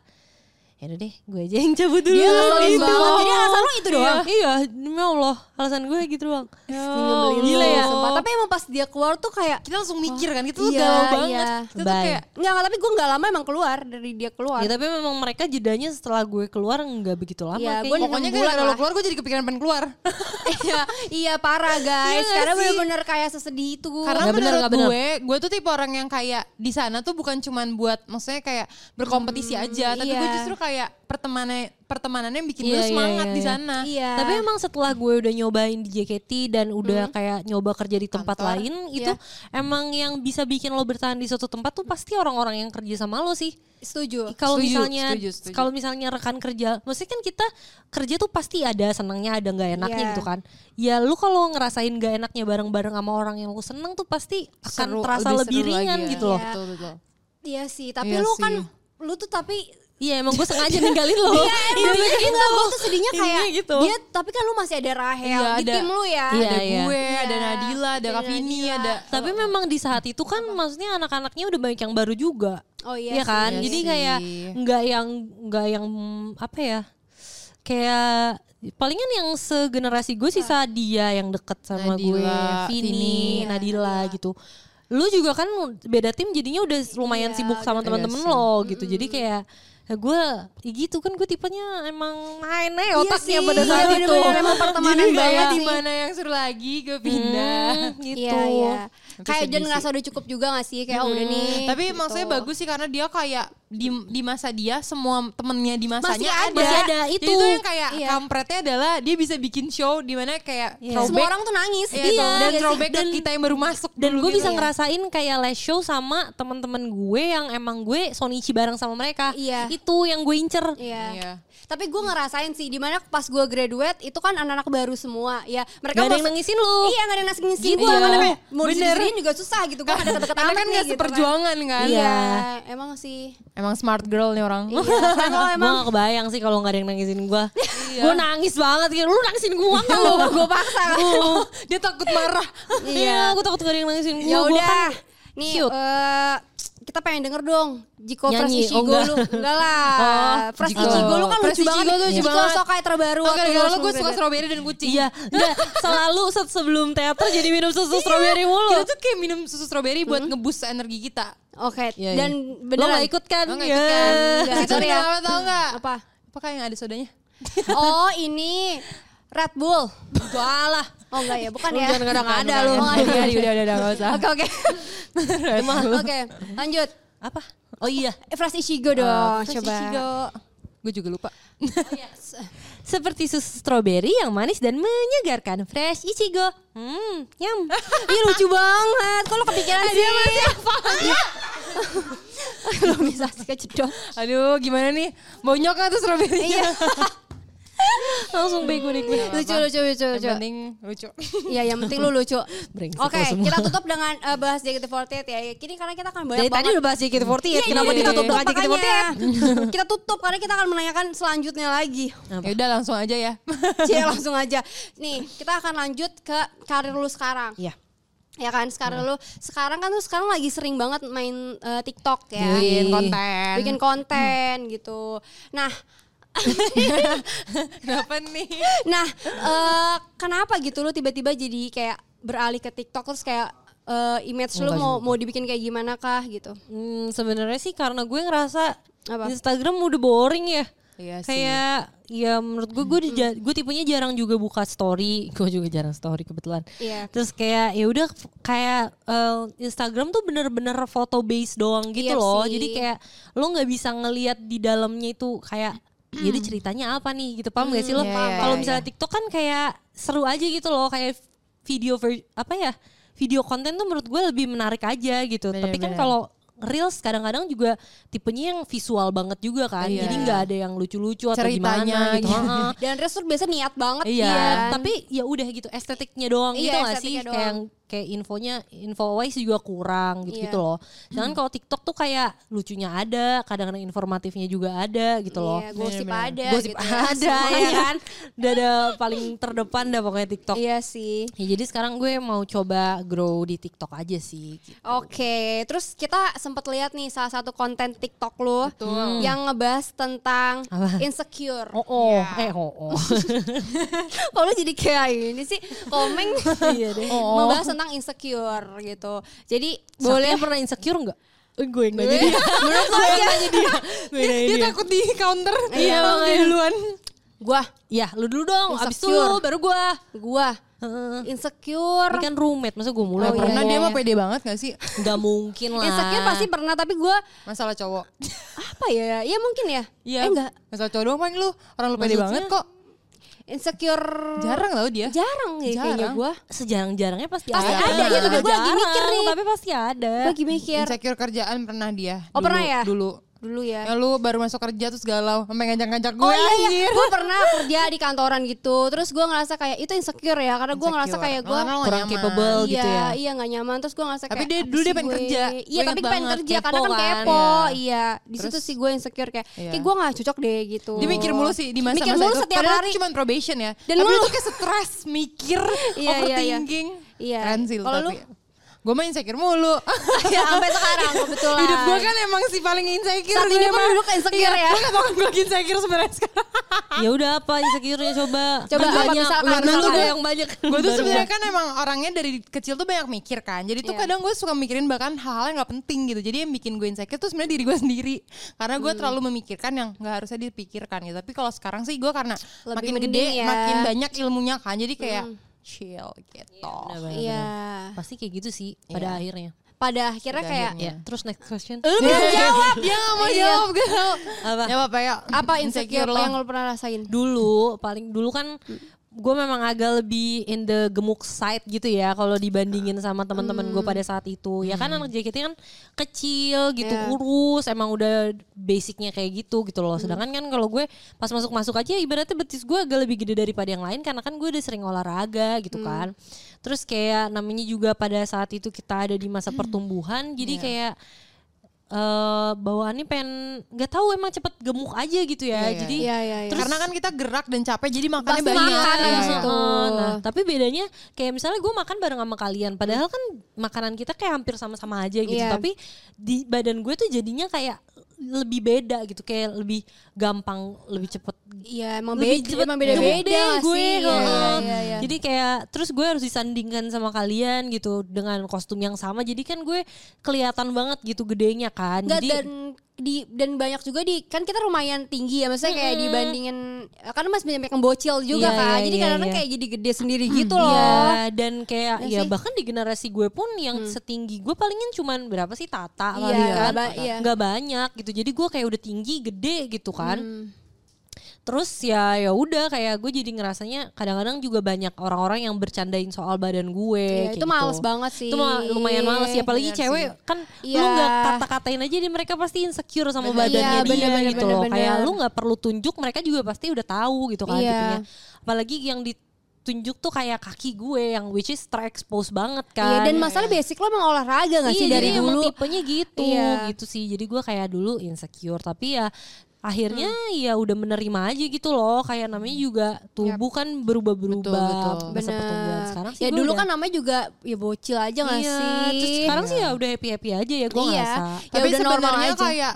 D: ya udah deh gue aja yang cabut dulu gitu.
C: Dia ngeselin banget. Jadi alasan lo itu doang?
D: Iya, demi Allah alasan gue gitu doang
C: Nyebelin
D: Gila
C: lu,
D: ya
C: sumpah. Tapi emang pas dia keluar tuh kayak
B: Kita langsung mikir kan, kita tuh
C: Iya,
B: galau banget.
C: iya.
B: Kita tuh
D: Bye.
B: kayak
C: Enggak, enggak, tapi gue nggak lama emang keluar dari dia keluar.
B: Gitu.
D: Ya tapi memang mereka jedanya setelah gue keluar nggak begitu lama
C: Iya,
D: kayaknya.
C: gue
B: pokoknya kan kalau keluar gue jadi kepikiran pengen keluar.
C: iya, iya parah guys.
B: nggak
C: Karena
B: sih?
C: bener-bener kayak sesedih itu gue.
B: Karena
D: Nggak bener,
B: menurut
D: nggak bener.
B: gue, gue tuh tipe orang yang kayak di sana tuh bukan cuman buat maksudnya kayak berkompetisi aja, tapi gue
C: iya.
B: justru kayak pertemanan pertemanannya yang bikin
D: Iya,
B: gue
D: iya,
B: semangat
D: iya,
B: di
D: iya.
B: sana.
C: Iya.
D: Tapi emang setelah gue udah nyobain di JKT dan udah kayak nyoba kerja di tempat
B: Hmm. Kantor. iya.
D: lain itu emang yang bisa bikin lo bertahan di suatu tempat tuh pasti orang-orang yang kerja sama lo sih.
C: setuju.
D: Kalau
B: Setuju,
D: misalnya
B: setuju, setuju.
D: kalau misalnya rekan kerja, maksudnya kan kita kerja tuh pasti ada senangnya, ada nggak enaknya
C: Iya.
D: gitu kan. Ya lu kalau ngerasain nggak enaknya bareng-bareng sama orang yang lu seneng tuh pasti akan
B: Seru,
D: terasa
B: lebih
D: lebih
B: seru lagi
D: ringan
B: ya.
D: gitu loh.
C: Iya.
B: Betul, betul.
C: Iya sih, tapi
B: Iya
C: lu
B: sih.
C: kan lu tuh tapi
D: Iya emang gue sengaja ninggalin lo.
C: Iya, emang
D: Intinya gitu.
C: enggak gue tuh sedihnya
D: Intinya
C: kayak
D: gitu.
C: dia tapi kan lu masih ada Rahel
B: Iya,
C: di
B: ada.
C: tim lu ya.
D: Iya,
B: Ada
D: iya.
B: gue, ada
C: Iya.
B: Nadila, ada
C: Ada
B: Kavini,
C: Nadila.
B: ada
D: Tapi memang di saat itu kan maksudnya anak-anaknya udah banyak yang baru juga.
C: Oh iya
D: Iya
C: sih.
D: kan?
B: Iya
D: Jadi
B: sih.
D: kayak nggak yang nggak yang apa ya? Kayak palingan yang segenerasi gue sisa dia yang deket sama
B: Nadila,
D: gue, Vini,
C: Ah. Vini. ya,
D: Nadila gitu. Lu juga kan beda tim jadinya udah lumayan
C: Iya,
D: sibuk sama teman-teman lo gitu. Jadi kayak ya gue ya gitu kan gue tipenya emang main eh otaknya
C: sih,
D: pada
C: iya,
D: saat itu.
C: bener-bener emang pertemanan
D: Jadi kayak,
C: banget
B: di mana yang seru lagi gue pindah.
D: hmm, gitu.
C: Iya, iya.
B: Tapi
C: Kayak
B: sedih
C: dan ngerasa udah cukup juga gak sih kayak oh, udah nih.
B: Tapi
C: gitu.
B: maksudnya bagus sih karena dia kayak di di masa dia semua temennya di masanya
D: Masih ada.
B: ada.
D: Masih ada,
B: Jadi
D: itu.
B: yang kayak
C: Iya.
B: kampretnya adalah dia bisa bikin show di mana kayak
D: Iya.
B: throwback.
C: semua orang tuh nangis.
B: Iya,
C: gitu.
B: dan
C: Iya,
B: throwback ke
D: Dan-
B: kita yang baru masuk.
D: dan
B: dulu
D: gue bisa
C: ya.
B: gitu.
D: ngerasain kayak live show sama teman-teman gue yang emang gue sonichi bareng sama mereka
C: Iya.
D: itu yang gue incer
C: Iya.
B: Iya.
C: Tapi gue ngerasain sih dimana pas gue graduate itu kan anak-anak baru semua ya mereka
D: Gak ada yang
C: masuk-
D: nangisin lu.
C: Iya gak ada yang nangisin
D: Gitu,
C: gue
D: emang
C: iya.
D: namanya.
C: Mau
B: Bener.
C: disisirin juga susah gitu gue ada deket-deket
B: Karena
C: anak
B: kan
C: nih,
B: gak
C: gitu
B: seperjuangan kan.
C: kan. Iya emang sih.
B: Emang smart girl nih orang.
C: Iya. Kan lo
D: gue
C: emang
D: gak kebayang sih kalau gak ada yang nangisin gue gue nangis banget gitu lu nangisin gue kan lu
C: gue paksa kan.
B: dia takut marah.
D: iya gue takut gak ada yang nangisin gue
C: Ya
D: Gue
C: udah.
D: kan-
C: Nih
D: cute.
C: eh, kita pengen denger dong Jiko Fresh
D: Nyanyi,
C: Ichigo
D: oh enggak.
C: lu Enggak lah
D: Oh,
C: Fresh
D: Jiko.
C: Ichigo lu kan
B: Fresh
C: lucu banget
B: Ichigo tuh lucu banget.
C: Sokai terbaru
B: Oke,
C: waktu
B: kalau
C: lu
B: gue suka
C: graduate.
B: strawberry dan kucing.
D: iya udah selalu se- sebelum teater jadi minum susu strawberry
B: Kita
D: mulu
B: Gitu tuh kayak minum susu strawberry buat ngebus energi kita.
C: Oke
D: Iya,
C: dan
D: iya.
C: beneran
D: lo gak ikut kan
B: Lo nggak
D: Iya.
B: ikut kan?
C: Enggak,
B: Kita
C: sorry ya.
B: minum apa tau gak?
C: Apa?
B: Apakah yang ada sodanya?
C: Oh ini Red Bull
D: Walah.
C: Oh enggak ya bukan
D: Lu
C: ya
D: jangan kadang ada lu.
C: Oh, nggak ada.
B: Udah, udah, udah, udah, gak usah.
C: Oke oke Oke lanjut
D: apa oh iya Oh,
C: Fresh Ichigo
D: Ah,
C: dong coba Oh,
B: Gue juga lupa.
D: Seperti susu stroberi yang manis dan menyegarkan. Fresh Ichigo. Hmm, yum. Ih lucu banget. Kalau kepikiran sih. Dia masih apa?
C: Lo bisa sih kejedot
B: Aduh, gimana nih? Bonyok gak tuh strawberry?
C: Iya
D: Langsung bego deh gue.
C: Lucu lucu lucu
B: Yang
C: lucu
B: penting lucu.
C: Iya yang penting lu lucu.
D: Brengsek
C: Oke,
D: lo semua.
C: kita tutup dengan eh, bahas JKT48 ya. Kini karena kita akan banyak
D: Dari tadi udah bahas JKT48.
C: Iya,
D: Kenapa
C: iya,
D: ditutup
C: iya.
D: dengan JKT48?
C: Makanya, kita tutup karena kita akan menanyakan selanjutnya lagi.
B: Ya udah langsung aja ya.
C: Cie langsung aja. Nih, kita akan lanjut ke karir lu sekarang.
D: Iya.
C: Ya kan, sekarang lu sekarang kan lu sekarang lagi sering banget main eh, TikTok ya.
B: Bikin konten.
C: Bikin konten gitu. Nah,
B: Kenapa nih?
C: nah eh, kenapa gitu lu tiba-tiba jadi kayak beralih ke TikTok terus kayak eh, image lu
D: Enggak
C: mau mau dibikin kayak gimana kah gitu?
D: Hmm, sebenarnya sih karena gue ngerasa
C: Apa?
D: Instagram udah boring ya.
B: Iya sih.
D: Kayak ya menurut gue gue, dija- gue tipenya jarang juga buka story. Gue juga jarang story kebetulan.
C: Iya.
D: Terus kayak ya udah f- kayak eh, Instagram tuh bener-bener foto base doang gitu
C: Iya
D: loh.
C: sih.
D: Jadi kayak lo nggak bisa ngelihat di dalamnya itu kayak jadi ceritanya apa nih gitu paham gak sih lo?
F: Iya, iya,
D: Kalau
F: iya,
D: misalnya TikTok kan kayak seru aja gitu loh kayak video ver- apa ya video konten tuh menurut gue lebih menarik aja gitu. Tapi kan
B: Bener-bener.
D: kalau reels kadang-kadang juga tipenya yang visual banget juga kan.
B: Iya.
D: Jadi nggak ada yang lucu-lucu atau
B: Ceritanya
D: gimana gitu.
B: gitu.
D: Heeh.
C: Dan Reels tuh biasa niat banget
D: Iya,
C: kan.
D: tapi ya udah gitu estetiknya doang
C: Iya,
D: gitu gak sih?
C: estetiknya
D: Kayak yang- kayak infonya info wise juga kurang gitu gitu
C: Iya.
D: loh. Jangan kalau TikTok tuh kayak lucunya ada, kadang-kadang informatifnya juga ada gitu loh.
C: Iya, gosip ada
D: Gosip
C: gitu.
D: ada ya kan. Dada paling terdepan dah pokoknya TikTok.
C: Iya sih.
D: Ya, jadi sekarang gue mau coba grow di TikTok aja sih. gitu.
C: Oke, terus kita sempat lihat nih salah satu konten TikTok lu
B: Hmm.
C: yang ngebahas tentang
D: Apa?
C: insecure.
D: Oh, oh. eh oh, oh.
C: Kok lu jadi kayak ini sih? Komeng
B: Oh.
C: membahas tentang insecure gitu. Jadi
D: Boleh
C: boleh
D: pernah insecure nggak? Eh, Gue yang nanya dia. Gue yang nanya dia. Gue yang nanya
G: Dia
D: dia.
G: takut di counter.
D: Iya,
G: Bang, dia
D: makanya.
G: duluan.
C: gua
D: Ya, lu dulu dong. Abis itu
C: Insecure.
D: baru gue.
C: gua insecure.
D: Ini kan roommate, masa gue mulu
C: Oh,
D: yang
C: iya,
B: Pernah
D: pernah
B: dia mah pede banget gak sih?
D: Gak mungkin lah.
C: Insecure pasti pernah tapi gua
B: Masalah cowok.
C: apa ya? Ya mungkin ya.
D: Iya.
C: Eh enggak.
B: Masalah cowok doang paling lu. Orang lu pede
D: Maksudnya?
B: banget kok.
C: Insecure
B: Jarang tau dia.
C: jarang ya kayaknya
B: Jarang.
C: gua.
D: sejarang-jarangnya pasti,
C: Pasti
D: ada.
C: ada, gitu. Gue lagi
D: Jarang,
C: mikir nih.
D: Tapi pasti ada.
C: Gua lagi mikir
B: Insecure kerjaan pernah dia.
C: Oh,
B: Dulu-
C: pernah ya?
B: Dulu.
C: dulu ya.
B: Ya lu baru masuk kerja terus galau. Sampai ngajak-ngajak gue
C: Oh iya,
B: anjir.
C: iya. gue pernah kerja di kantoran gitu, terus gue ngerasa kayak itu insecure ya, karena gue ngerasa
B: Insecure.
C: kayak gue
B: Lama-lama nggak
D: Kurang
B: nyaman.
D: capable
C: iya,
D: gitu ya.
C: iya nggak nyaman, terus gue ngerasa
B: Tapi
C: kayak
B: dia
C: apa
B: dulu
C: sih
B: dia pengen
C: gue?
B: kerja.
C: iya
B: Gue
C: tapi
B: ingat
C: pengen
B: banget,
C: kerja karena
D: kepo
C: kan
D: kan.
C: kepo,
B: Iya.
C: iya di situ
B: Terus-
C: sih gue insecure kayak,
B: Iya.
C: kayak gue nggak cocok deh gitu.
B: Dia mikir mulu sih di masa-masa
C: Mikir mulu
B: itu.
C: setiap
B: Padahal
C: hari.
B: cuma probation ya.
C: Dan
B: Tapi
C: mulu.
B: lu tuh kayak stres, mikir,
C: Iya, iya, iya.
B: overthinking.
C: Iya.
B: Keren sih lu
C: Kalau lu?
B: tapi. Gue mah insecure mulu.
C: ya, sampai sekarang kebetulan.
B: Hidup gue kan emang sih paling insecure. Iya,
C: Saat
B: gue
C: ini pun
B: mah.
C: hidup insecure ya.
B: Gue gak tau gue insecure sebenarnya sekarang.
D: Ya udah apa insecure-nya coba.
C: Coba apa,
D: banyak.
C: misalkan,
D: Lu- lu
C: misalkan.
D: ada yang banyak.
B: Gue tuh
D: Baru-
B: sebenarnya kan emang orangnya dari kecil tuh banyak mikir kan. Jadi tuh
C: Iya.
B: kadang gue suka mikirin bahkan hal-hal yang gak penting gitu. Jadi yang bikin gue insecure tuh sebenarnya diri gue sendiri. Karena
C: Hmm.
B: gue terlalu memikirkan yang gak harusnya dipikirkan gitu. Tapi kalau sekarang sih gue karena
C: Lebih
B: makin
C: mending
B: gede,
C: ya. Hmm.
B: makin banyak ilmunya kan. Jadi kayak chill gitu.
D: Bener, bener,
C: Iya.
D: bener. Nah, Pasti kayak gitu sih pada akhirnya.
C: Pada akhirnya
B: Pada
C: kayak
D: Ya, terus next question.
C: Eh,
B: Lu belum jawab, dia gak mau
C: Iya.
B: jawab gue.
D: Apa?
B: Ya apa Iya. ya?
C: apa insecure
B: lo?
C: yang lo pernah rasain?
D: dulu paling dulu kan gue memang agak lebih in the gemuk side gitu ya kalau dibandingin sama teman-teman gue pada saat itu ya kan
B: Hmm.
D: anak JKT kan kecil gitu
C: Iya.
D: kurus emang udah basicnya kayak gitu gitu loh
B: Hmm.
D: sedangkan kan kalau gue pas masuk masuk aja ibaratnya betis gue agak lebih gede daripada yang lain karena kan gue udah sering olahraga gitu
B: Hmm.
D: kan terus kayak namanya juga pada saat itu kita ada di masa
B: Hmm.
D: pertumbuhan jadi
B: Iya.
D: kayak eh bawaannya pengen nggak tahu emang cepet gemuk aja gitu ya
B: Iya, iya.
D: jadi
C: Iya, iya, iya.
B: Terus, karena kan kita gerak dan capek jadi makannya
C: Pasti
B: banyak.
C: makan Oh,
B: Iya,
C: abis
B: iya.
C: itu.
D: Heeh, Nah, tapi bedanya kayak misalnya gue makan bareng sama kalian, padahal kan makanan kita kayak hampir sama-sama aja gitu.
C: Iya.
D: Tapi di badan gue tuh jadinya kayak lebih beda gitu, kayak lebih gampang, lebih cepet.
C: Iya, emang beda,
D: lebih cepet
C: emang
D: gede
C: beda-beda gak
D: gue.
C: sih. Iya,
D: heeh.
B: oh.
C: iya, iya, iya.
D: Jadi kayak terus gue harus disandingkan sama kalian gitu dengan kostum yang sama. Jadi kan gue kelihatan banget gitu gedenya kan.
C: Enggak
D: Jadi
C: dan di dan banyak juga di kan kita lumayan tinggi ya maksudnya kayak dibandingin kan masih banyak yang bocil juga
D: Iya,
C: kan.
D: iya,
C: jadi
D: iya,
C: kadang-kadang
D: iya.
C: kayak jadi gede sendiri gitu loh.
D: Iya, dan kayak
C: Ya
D: ya,
C: sih. Hmm.
D: bahkan di generasi gue pun yang setinggi gue palingin cuman berapa sih Tata
C: Iya,
D: kali kan.
C: nggak ba- iya.
D: Nggak banyak gitu. Jadi gue kayak udah tinggi gede gitu kan.
C: Hmm.
D: Terus ya ya udah kayak gue jadi ngerasanya kadang-kadang juga banyak orang-orang yang bercandain soal badan
C: Iya,
D: gue. kayak
C: itu
D: gitu.
C: males banget sih.
D: Itu mah lumayan males ya apalagi
B: Bener
D: cewek kan
C: Iya.
D: lu nggak kata-katain aja di mereka pasti insecure sama
C: Bener.
D: badannya
C: Iya,
D: dia
C: bener, bener,
D: gitu
C: bener,
D: loh. Kayak
C: bener.
D: lu nggak perlu tunjuk mereka juga pasti udah tahu gitu kan
C: Iya.
D: gitunya. Apalagi yang ditunjuk tuh kayak kaki gue yang which is terexpose banget kan.
C: Iya, dan masalah basic lo emang olahraga gak sih
D: Iya,
C: dari
D: jadi emang
C: dulu?
D: tipenya gitu
C: Iya.
D: gitu sih. Jadi gue kayak dulu insecure tapi ya akhirnya
C: Hmm.
D: ya udah menerima aja gitu loh kayak namanya juga tubuh kan berubah-berubah
B: Betul, betul.
D: masa ya, pertumbuhan
C: Bener.
D: sekarang sih
C: ya
D: gue
C: dulu
D: udah-
C: kan namanya juga ya bocil aja gak
D: iya,
C: sih?
D: terus sekarang sih ya udah happy happy aja ya gue
C: Iya.
D: ngerasa
C: Ya
B: Tapi
C: udah normal
B: sebenarnya
C: aja.
B: kayak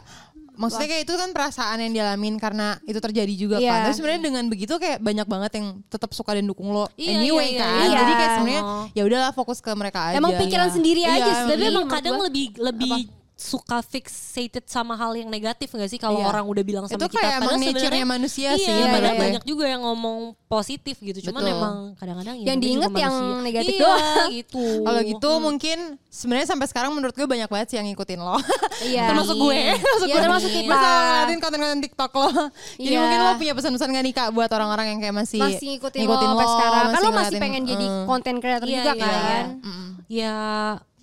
B: maksudnya kayak itu kan perasaan yang dialamin karena itu terjadi juga
C: Iya.
B: kan. Tapi sebenarnya dengan begitu kayak banyak banget yang tetap suka dan dukung lo
D: Iya, iya,
B: anyway
D: iya,
B: kan.
C: iya.
B: Jadi kayak sebenarnya
D: Oh.
B: ya udahlah fokus ke mereka aja.
C: Emang pikiran sendiri aja sih.
D: tapi
B: emang
C: Iya,
D: iya. emang
C: menurut
D: kadang
C: gua.
D: lebih lebih suka fixated sama hal yang negatif gak sih kalau
B: Iya.
D: orang udah bilang sama
B: Itu
D: kita
B: kayak emang
D: sebenarnya-
B: nature-nya manusia
D: iya,
B: sih.
D: padahal
B: Iya, iya.
D: banyak juga yang ngomong positif gitu cuman
B: Betul.
D: emang kadang-kadang ya
C: Yang
D: namanya
C: diinget
D: juga
C: yang
D: manusia.
C: negatif
D: iya,
C: doang.
D: gitu
B: Kalau gitu
C: Hmm.
B: mungkin sebenarnya sampai sekarang menurut gue banyak banget sih yang ngikutin lo.
C: Iya.
B: termasuk gue.
D: Iya,
B: termasuk gue.
C: termasuk kita.
B: Masa lo ngeliatin konten-konten TikTok lo. Jadi
C: Iya.
B: mungkin lo punya pesan-pesan gak nih Kak buat orang-orang yang kayak
D: Iya.
B: masih
C: masih ngikutin, lo sampai sekarang kan lo masih
B: ngeliatin,
C: pengen jadi
B: eh,
C: content creator
D: Iya,
C: juga
D: iya,
C: kan
D: ya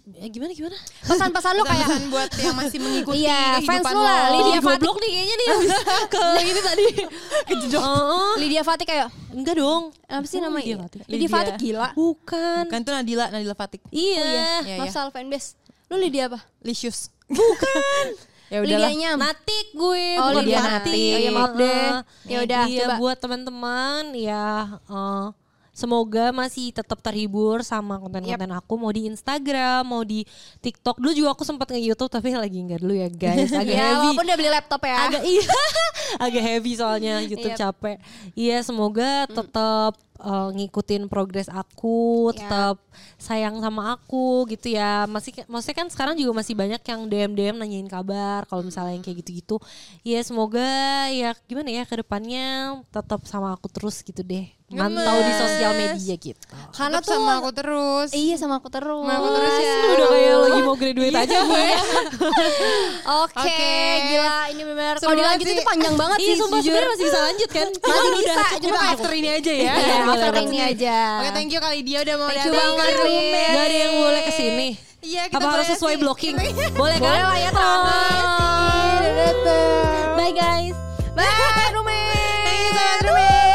D: ya gimana gimana
C: pesan-pesan
D: Iya,
C: lo kayak
B: pesan buat yang masih mengikuti
C: Iya, fans
B: kehidupan
C: lo Oh, lah,
B: lo.
C: Lydia
D: Lydia
C: Fatih.
D: goblok nih kayaknya nih habis ke ini tadi kejedok
C: Lydia Fatih kayak
D: Eh, enggak dong Oh,
C: apa sih
D: Emang
C: namanya
D: Lydia
C: Oh, Lydia
D: Fatih?
C: Fatih,
B: Lydia.
C: gila
D: bukan
B: Kan itu Nadila, Nadila Fatik.
C: Oh,
D: iya,
B: Iya,
C: maaf
B: iya.
C: salah fanbase lu Lydia apa
B: Licious. Bukan. ya udahlah.
C: Lydianya
D: Natik gue
C: Oh,
D: bukan
C: Lydia
D: Fatih.
C: Natik. Oh, iya, maaf deh.
D: Heeh.
C: Ya udah,
D: Iya,
C: coba.
D: buat teman-teman ya eh, semoga masih tetap terhibur sama konten-konten aku mau di Instagram, mau di TikTok. Dulu juga aku sempat nge-YouTube tapi lagi enggak dulu ya guys. Agak
C: ya
D: heavy.
C: walaupun udah beli laptop ya
D: Agak iya. agak heavy soalnya YouTube
C: Yep.
D: capek. Iya, semoga tetap eh, ngikutin progres
C: Ya.
D: aku, tetap sayang sama aku gitu ya. Masih maksudnya kan sekarang juga masih banyak yang DM DM nanyain kabar kalau misalnya yang kayak gitu-gitu. Iya, semoga ya gimana ya ke depannya tetap sama aku terus gitu deh. Mantau di sosial media gitu.
C: karena
B: Tetap
C: tuh
B: sama aku terus.
C: iya sama aku terus
B: Sama aku terus
D: Lu
B: ya.
D: Iya, udah kayak lagi mau
C: Iya,
D: graduate aja gue.
C: Oke,
B: Oke.
C: gila ini benar. Kalau
B: Seru
C: dilanjut
B: banget
C: itu
B: sih.
C: panjang banget
D: Iya,
C: sih.
D: sumpah
C: jujur.
D: sebenarnya masih bisa lanjut kan?
C: Masih bisa,
B: Kita
C: cuma
B: after ini aja ya.
C: Iya,
B: Boleh,
C: after
B: boleh.
C: ini aja.
B: Oke, thank you kali dia udah mau
C: Thank you
B: datang
C: banget,
B: ke
C: Rin.
B: Rumes.
D: Gak ada yang boleh kesini.
B: Iya, kita
D: Apa harus
B: boleh
D: sesuai
B: sih.
D: blocking? Boleh kan?
C: Boleh lah ya, terang.
B: Dadah.
C: Bye guys. Bye, Rumen.
B: Thank you so much, Rumes.